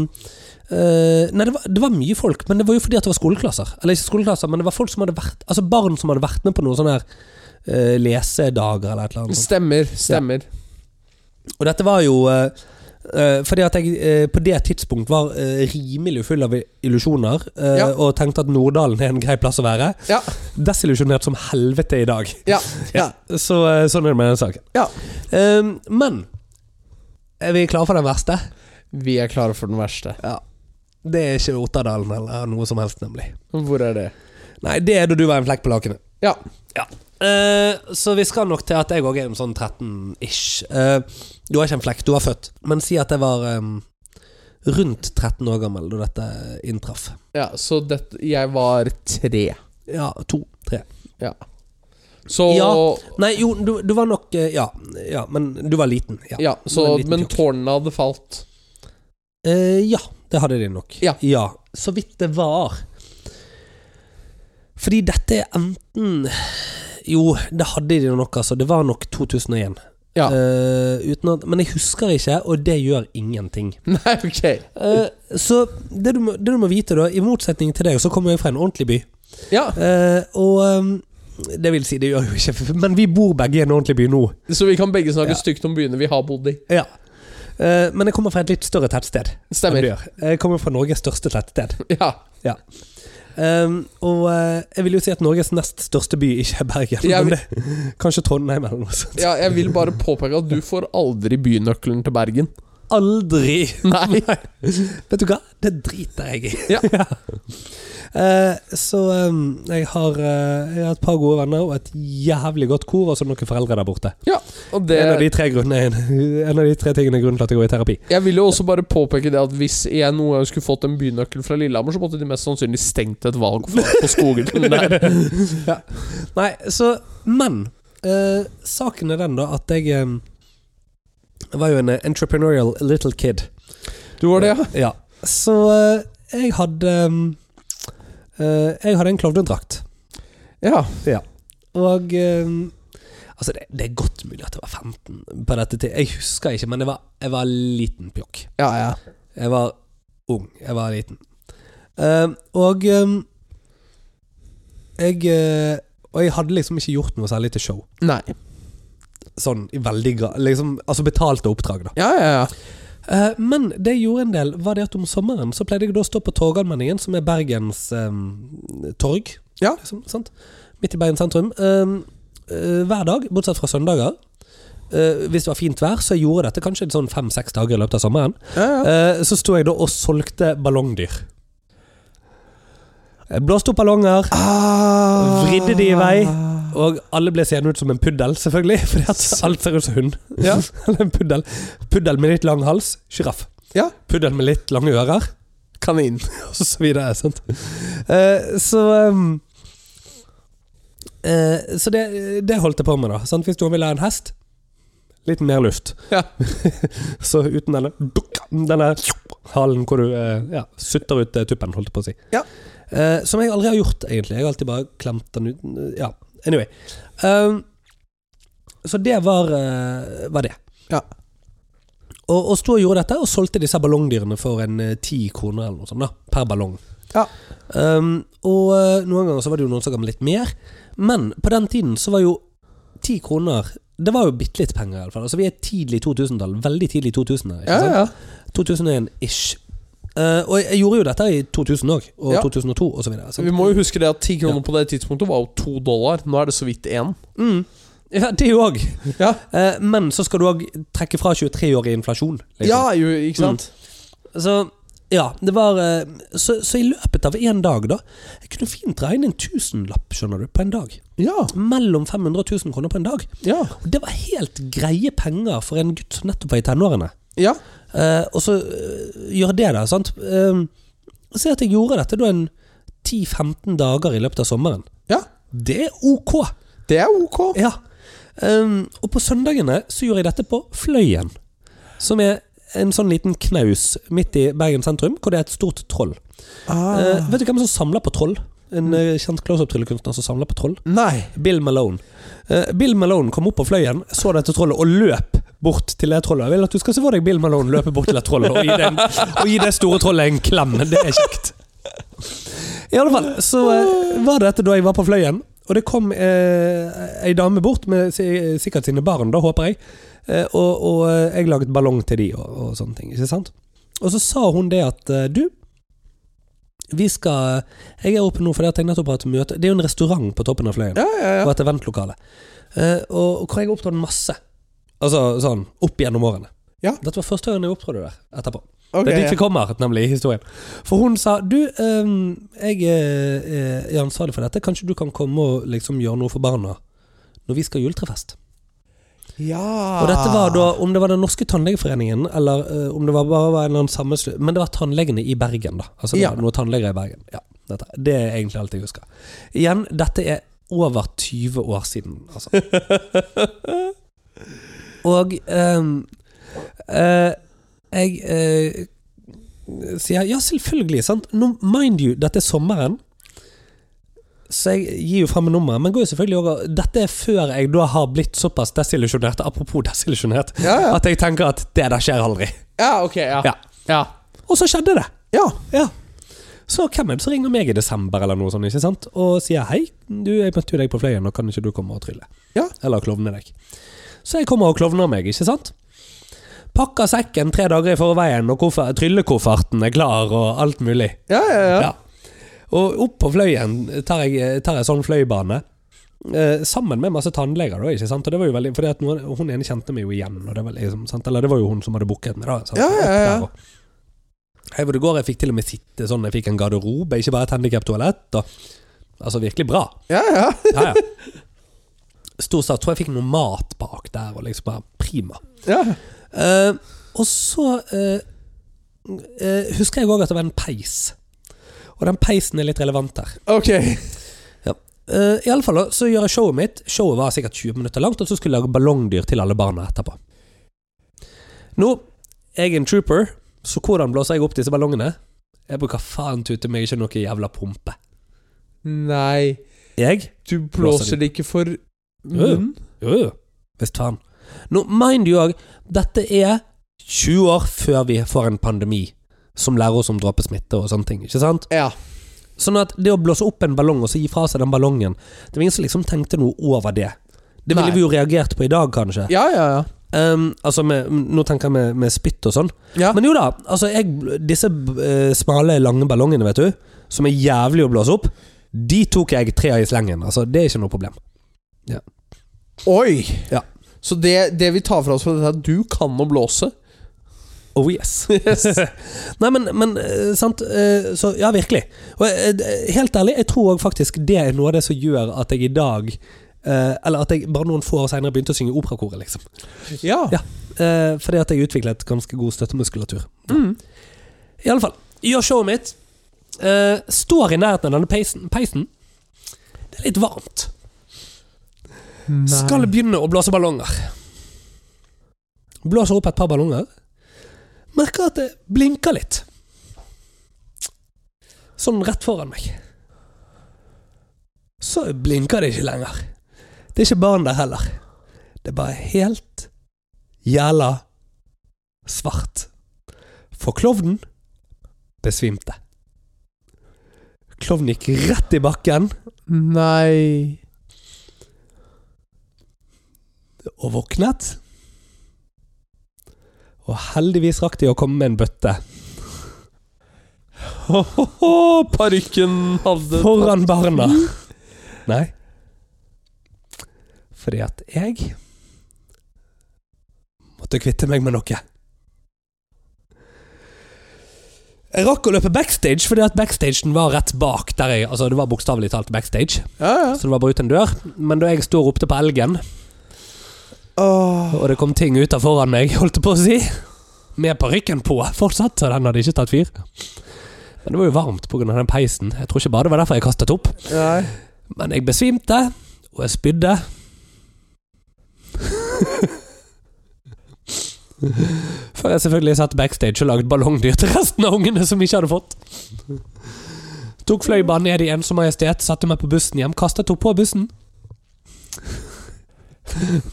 Speaker 2: eh, Nei, det var, det var mye folk, men det var jo fordi at det var skoleklasser. Eller ikke skoleklasser, men det var folk som hadde vært Altså barn som hadde vært med på noen sånne her eh, lesedager eller et eller annet. sånt.
Speaker 1: Stemmer. Stemmer.
Speaker 2: Og dette var jo eh, eh, fordi at jeg eh, på det tidspunkt var eh, rimelig full av illusjoner, eh,
Speaker 1: Ja.
Speaker 2: og tenkte at Norddalen er en grei plass å være.
Speaker 1: Ja.
Speaker 2: Desillusjonert som helvete i dag.
Speaker 1: Ja. ja.
Speaker 2: Så eh, sånn er det med den saken.
Speaker 1: ja.
Speaker 2: Eh, men er vi klare for den verste?
Speaker 1: Vi er klare for den verste.
Speaker 2: Ja. Det er ikke Otterdalen eller noe som helst, nemlig.
Speaker 1: Hvor er det?
Speaker 2: Nei, det er da du var en flekk på lakenet.
Speaker 1: Ja.
Speaker 2: Ja. Eh, så vi skal nok til at jeg òg er en sånn 13-ish. Eh, du har ikke en flekk, du har født. Men si at jeg var em, rundt 13 år gammel da dette inntraff.
Speaker 1: ja så dette Jeg var tre.
Speaker 2: Ja, to, tre.
Speaker 1: Ja. Så
Speaker 2: Ja. Nei, jo, du, du var nok eh, ja, ja, men du var liten. Ja.
Speaker 1: Ja, så,
Speaker 2: En liten
Speaker 1: men
Speaker 2: fjokk.
Speaker 1: tårnene hadde falt.
Speaker 2: Eh, ja, det hadde de nok.
Speaker 1: Ja.
Speaker 2: Så vidt det var. Fordi dette er enten Jo, det hadde de nok, altså. Det var nok 2001.
Speaker 1: Ja.
Speaker 2: Eh, uten at, men jeg husker ikke, og det gjør ingenting.
Speaker 1: Nei, ok.
Speaker 2: Eh, så det du, må, det du må vite, da, i motsetning til deg, så kommer jeg fra en ordentlig by.
Speaker 1: Ja,
Speaker 2: Eh, og eh, Det vil si, det gjør jo ikke Men vi bor begge i en ordentlig by nå.
Speaker 1: Så vi kan begge snakke
Speaker 2: Ja.
Speaker 1: stygt om byene vi har bodd i.
Speaker 2: Ja. Eh, men jeg kommer fra et litt større tettsted. enn du
Speaker 1: Stemmer.
Speaker 2: gjør. Jeg kommer fra Norges største tettsted.
Speaker 1: Ja.
Speaker 2: Um, og eh, jeg vil jo si at Norges nest største by ikke er Bergen.
Speaker 1: Jeg
Speaker 2: men det, kanskje Trondheim eller noe sånt.
Speaker 1: ja, jeg vil bare påpeke at du får aldri bynøkkelen til Bergen.
Speaker 2: Aldri!
Speaker 1: Nei.
Speaker 2: Vet du hva? Det driter jeg i.
Speaker 1: Ja.
Speaker 2: Eh, så em, jeg, har, eh, jeg har et par gode venner og et jævlig godt kor, og så noen foreldre der borte.
Speaker 1: Ja, og
Speaker 2: Det er en av
Speaker 1: det
Speaker 2: de tre, grunnene, en av de tre tingene er grunnen til at jeg går i terapi.
Speaker 1: Jeg vil jo også bare påpeke det at hvis jeg noen gang skulle fått en bynøkkel fra Lillehammer, så måtte de mest sannsynlig stengt et valg på skogen der.
Speaker 2: ja. Nei, så Men eh, saken er den, da, at jeg em, var jo en eh, entrepreneurial little kid.
Speaker 1: Du var det, ja?
Speaker 2: Ja. Så eh, jeg hadde um, eh, Jeg hadde en klovnedrakt.
Speaker 1: Ja.
Speaker 2: Og eh, Altså, det, det er godt mulig at jeg var 15 på dette tid. Jeg husker ikke, men jeg var, jeg var liten pjokk.
Speaker 1: Ja, ja.
Speaker 2: Jeg var ung. Jeg var liten. Eh, og eh, jeg eh, Og jeg hadde liksom ikke gjort noe særlig til show.
Speaker 1: Nei.
Speaker 2: Sånn i veldig grad liksom, Altså betalte oppdrag, da.
Speaker 1: Ja, ja, ja.
Speaker 2: Eh, men det jeg gjorde en del, var det at om sommeren så pleide jeg da å stå på Torgallmenningen, som er Bergens eh, torg.
Speaker 1: Ja.
Speaker 2: Liksom, sant? Midt i Bergen sentrum. Eh, eh, hver dag, bortsett fra søndager. Eh, hvis det var fint vær, så jeg gjorde dette kanskje sånn fem-seks dager i løpet av sommeren.
Speaker 1: ja, ja.
Speaker 2: Eh, så sto jeg da og solgte ballongdyr. Jeg blåste opp ballonger, Ah. Vridde de i vei. og alle ble seende ut som en puddel, selvfølgelig. Fordi at alt ser ut som hund.
Speaker 1: Ja.
Speaker 2: Eller en puddel. Puddel med litt lang hals. Sjiraff.
Speaker 1: Ja.
Speaker 2: Puddel med litt lange ører.
Speaker 1: Kanin.
Speaker 2: Og så videre. Sant? Eh, så ehm, eh, Så det, det holdt jeg på med, da. Sant? Hvis noen ville ha en hest, litt mer luft.
Speaker 1: Ja.
Speaker 2: så uten denne dukk, denne halen hvor du eh, ja, sutter ut eh, tuppen, holdt jeg på å si.
Speaker 1: Ja.
Speaker 2: Eh, som jeg aldri har gjort, egentlig. Jeg har alltid bare klemt den ut. eh, Ja, anyway. Um, så det var, eh, var det.
Speaker 3: Ja.
Speaker 2: Og, og sto og gjorde dette, og solgte disse ballongdyrene for en eh, ti kroner eller noe sånt da, per ballong.
Speaker 3: Ja.
Speaker 2: Um, og eh, noen ganger så var det jo noen som ga meg litt mer, men på den tiden så var jo ti kroner Det var jo bitte litt penger, iallfall. Altså, vi er tidlig 2000-tall. Veldig tidlig 2000-tall. ikke
Speaker 1: Ja,
Speaker 2: sant?
Speaker 1: ja.
Speaker 2: 2001-ish. Eh, og jeg, jeg gjorde jo dette i 2000 òg, og
Speaker 1: Ja.
Speaker 2: 2002 og så videre. sant?
Speaker 1: Vi må jo huske det at ti kroner på det tidspunktet var jo to dollar. Nå er det så vidt én.
Speaker 2: Mm. Ja, det jo òg.
Speaker 1: Ja.
Speaker 2: Eh, men så skal du òg trekke fra 23 år i inflasjon. liksom.
Speaker 1: Ja, jo, ikke sant?
Speaker 2: Så ja, det var eh, så, så i løpet av én dag, da Jeg kunne fint regne en tusenlapp, skjønner du, på en dag.
Speaker 1: Ja.
Speaker 2: Mellom 500 og 1000 kroner på en dag.
Speaker 1: Ja.
Speaker 2: Og det var helt greie penger for en gutt som nettopp var i tenårene.
Speaker 1: ja.
Speaker 2: Eh, og så eh, gjør det, da. sant? Eh, Se at jeg gjorde dette da en 10-15 dager i løpet av sommeren.
Speaker 1: Ja.
Speaker 2: Det er ok.
Speaker 1: Det er ok.
Speaker 2: Ja. Um, og på søndagene så gjorde jeg dette på Fløyen. Som er en sånn liten knaus midt i Bergen sentrum, hvor det er et stort troll.
Speaker 1: Ah.
Speaker 2: Eh, vet du hvem som samler på troll? En eh, kjent close-up-tryllekunstner som samler på troll?
Speaker 1: Nei.
Speaker 2: Bill Malone. Eh, Bill Malone kom opp på Fløyen, så dette trollet og løp bort til det trollet. Jeg vil at du skal se for deg Bill Malone løpe bort til det trollet og gi det, en, og gi det store trollet en klem. Det er kjekt. I alle fall, så eh, var dette da jeg var på Fløyen, og det kom eh, ei dame bort med si- sikkert sine barn, da håper jeg, eh, og, og eh, jeg laget ballong til de og, og sånne ting, ikke sant? Og så sa hun det at eh, du, vi skal Jeg er oppe nå fordi at jeg nettopp har hatt møte Det er jo en restaurant på toppen av Fløyen
Speaker 1: Ja, ja, ja.
Speaker 2: og et eventlokale. Eh, og, og hvor jeg opptrådte masse. Altså sånn opp gjennom årene.
Speaker 3: Ja.
Speaker 2: Dette var første gangen jeg opptrådte der etterpå.
Speaker 3: Ok,
Speaker 2: det er dit
Speaker 3: ja.
Speaker 2: vi kommer, nemlig, i historien. For hun sa Du, ehm, jeg eh, er ansvarlig for dette. Kanskje du kan komme og liksom gjøre noe for barna når vi skal ha juletrefest?
Speaker 3: Ja.
Speaker 2: Og dette var da, om det var Den norske tannlegeforeningen, eller eh, om det var bare var en eller annen sammenslut Men det var tannlegene i Bergen, da. Altså det
Speaker 3: Ja.
Speaker 2: var noen tannleger i Bergen. Ja, dette. Det er egentlig alt jeg husker. Igjen, dette er over 20 år siden, altså. Og ehm, eh, jeg eh, sier ja, selvfølgelig, sant. Nå, mind you, dette er sommeren. Så jeg gir jo frem med nummeret, men går jo selvfølgelig over Dette er før jeg da har blitt såpass desillusjonert, apropos desillusjonert,
Speaker 3: Ja, ja.
Speaker 2: at jeg tenker at det der skjer aldri.
Speaker 1: Ja, ok, ja.
Speaker 2: Ja.
Speaker 1: ja.
Speaker 2: Og så skjedde det.
Speaker 3: Ja.
Speaker 2: Ja. Så hvem er det som ringer meg i desember eller noe sånt, ikke sant? og sier 'hei, du, jeg møtte jo deg på Fløyen, og kan ikke du komme og trylle?'
Speaker 3: Ja.
Speaker 2: Eller klovne deg. Så jeg kommer og klovner meg, ikke sant? Pakker sekken tre dager i forveien, og koffer, tryllekofferten er klar, og alt mulig.
Speaker 3: Ja, ja, ja.
Speaker 2: Ja. Og opp på Fløyen tar jeg, tar jeg sånn fløybane. Eh, sammen med masse tannleger, da, ikke sant. Og det var jo veldig, fordi at noen, hun ene kjente meg jo igjen, og det var liksom, sant? eller det var jo hun som hadde booket meg, da. Sant?
Speaker 3: Ja, ja, ja.
Speaker 2: Opp der, og- Hei, hvor det går. Jeg fikk til og med sitte sånn, jeg fikk en garderobe, ikke bare et handikaptoalett. og- Altså virkelig bra.
Speaker 3: ja, ja.
Speaker 2: Ja, ja. Stort sett tror jeg fikk noe mat bak der, og liksom bare prima.
Speaker 3: ja.
Speaker 2: Eh, og så eh, eh, husker jeg òg at det var en peis. Og den peisen er litt relevant der.
Speaker 3: Ok.
Speaker 2: Uh, I alle fall da, så gjør jeg showet mitt. Showet var sikkert 20 minutter langt, og så skulle jeg lage ballongdyr til alle barna etterpå. Nå, jeg er en trooper, så hvordan blåser jeg opp disse ballongene? Jeg bruker faen tute meg ikke noe jævla pumpe.
Speaker 1: Nei,
Speaker 2: Jeg?
Speaker 1: du blåser det ikke for munnen?
Speaker 2: Jo, jo. Visst faen. Nå, mind you òg, dette er 20 år før vi får en pandemi som lærer oss om dråpesmitte og sånne ting, ikke sant?
Speaker 1: Ja.
Speaker 2: Sånn at det å blåse opp en ballong og så gi fra seg den ballongen Det var ingen som liksom tenkte noe over det. Det ville
Speaker 1: Nei.
Speaker 2: vi jo reagert på i dag, kanskje.
Speaker 1: Ja, ja, ja.
Speaker 2: Ehm, altså med, Nå tenker jeg med, med spytt og sånn.
Speaker 1: Ja.
Speaker 2: Men jo da, altså jeg, disse eh, smale, lange ballongene, vet du, som er jævlig å blåse opp, de tok jeg tre av i slengen. Altså, det er ikke noe problem.
Speaker 3: Oi.
Speaker 2: Ja.
Speaker 1: Så det, det vi tar fra oss på dette, er at du kan å blåse.
Speaker 2: Oh yes. Nei, men, men eh, sant eh, Så ja, virkelig. Og eh, d- helt ærlig, jeg tror også faktisk det er noe av det som gjør at jeg i dag eh, Eller at jeg bare noen få år seinere begynte å synge i operakoret, liksom.
Speaker 1: Ja.
Speaker 2: Ja. Eh, fordi at jeg utviklet ganske god støttemuskulatur.
Speaker 1: Mm.
Speaker 2: I alle fall, gjør showet mitt. Eh, står i nærheten av denne peisen. peisen. Det er litt varmt. Skal begynne å blåse ballonger. Blåser opp et par ballonger. Merker at det blinker litt. Sånn rett foran meg. Så blinker det ikke lenger. Det er ikke barn der heller. Det er bare helt jævla svart. For klovnen besvimte. Klovnen gikk rett i bakken
Speaker 1: Nei
Speaker 2: og våknet. Og heldigvis rakk de å komme med en bøtte.
Speaker 1: Ho-ho-ho, parykken hadde
Speaker 2: Foran barna. Nei. Fordi at jeg måtte kvitte meg med noe. Jeg rakk å løpe backstage, fordi at backstagen var rett bak der jeg Altså, det var bokstavelig talt backstage,
Speaker 1: Ja, ja.
Speaker 2: så det var bare ut en dør. Men da jeg sto og ropte på elgen,
Speaker 3: Åh.
Speaker 2: og det kom ting ut av foran meg, holdt jeg på å si, med parykken på fortsatt, så den hadde ikke tatt fyr. Men det var jo varmt pga. den peisen. Jeg tror ikke bare det var derfor jeg kastet opp.
Speaker 3: Nei.
Speaker 2: Men jeg besvimte, og jeg spydde. Før jeg selvfølgelig satt backstage og lagde ballongdyr til resten av ungene som ikke hadde fått. Tok fløibanen ned i ensom majestet, satte meg på bussen hjem, kastet opp på bussen.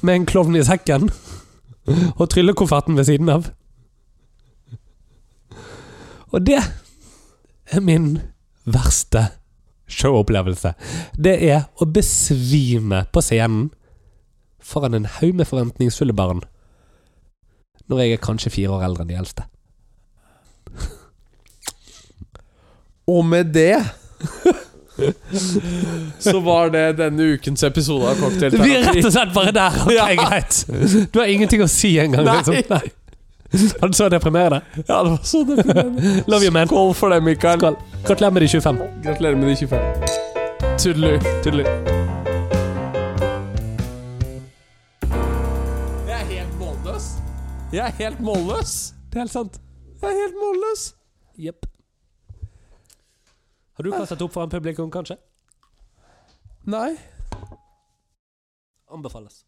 Speaker 2: Med en klovn i sekken. Og tryllekofferten ved siden av. Og det er min verste showopplevelse. Det er å besvime på scenen foran en haug med forventningsfulle barn. Når jeg er kanskje fire år eldre enn de eldste.
Speaker 3: Og med det
Speaker 1: Så var det denne ukens episode av
Speaker 2: Vi er rett
Speaker 1: Cocktailterapi.
Speaker 2: og slett bare der! Ok,
Speaker 1: Ja.
Speaker 2: greit. Du har ingenting å si engang.
Speaker 1: Nei.
Speaker 2: Liksom. Nei. Han så deprimerende.
Speaker 1: Ja, det var så deprimerende.
Speaker 2: Love you, man.
Speaker 1: Skål for det, Mikael.
Speaker 2: Skål. Gratulerer med de 25.
Speaker 1: Gratulerer med de 25. Tudelu.
Speaker 2: Tudelu.
Speaker 1: Jeg er helt målløs. Jeg er helt målløs.
Speaker 2: Det er helt sant.
Speaker 1: Jeg er helt målløs.
Speaker 2: Jepp. Har du kastet opp foran publikum, kanskje?
Speaker 1: Nei.
Speaker 2: Anbefales.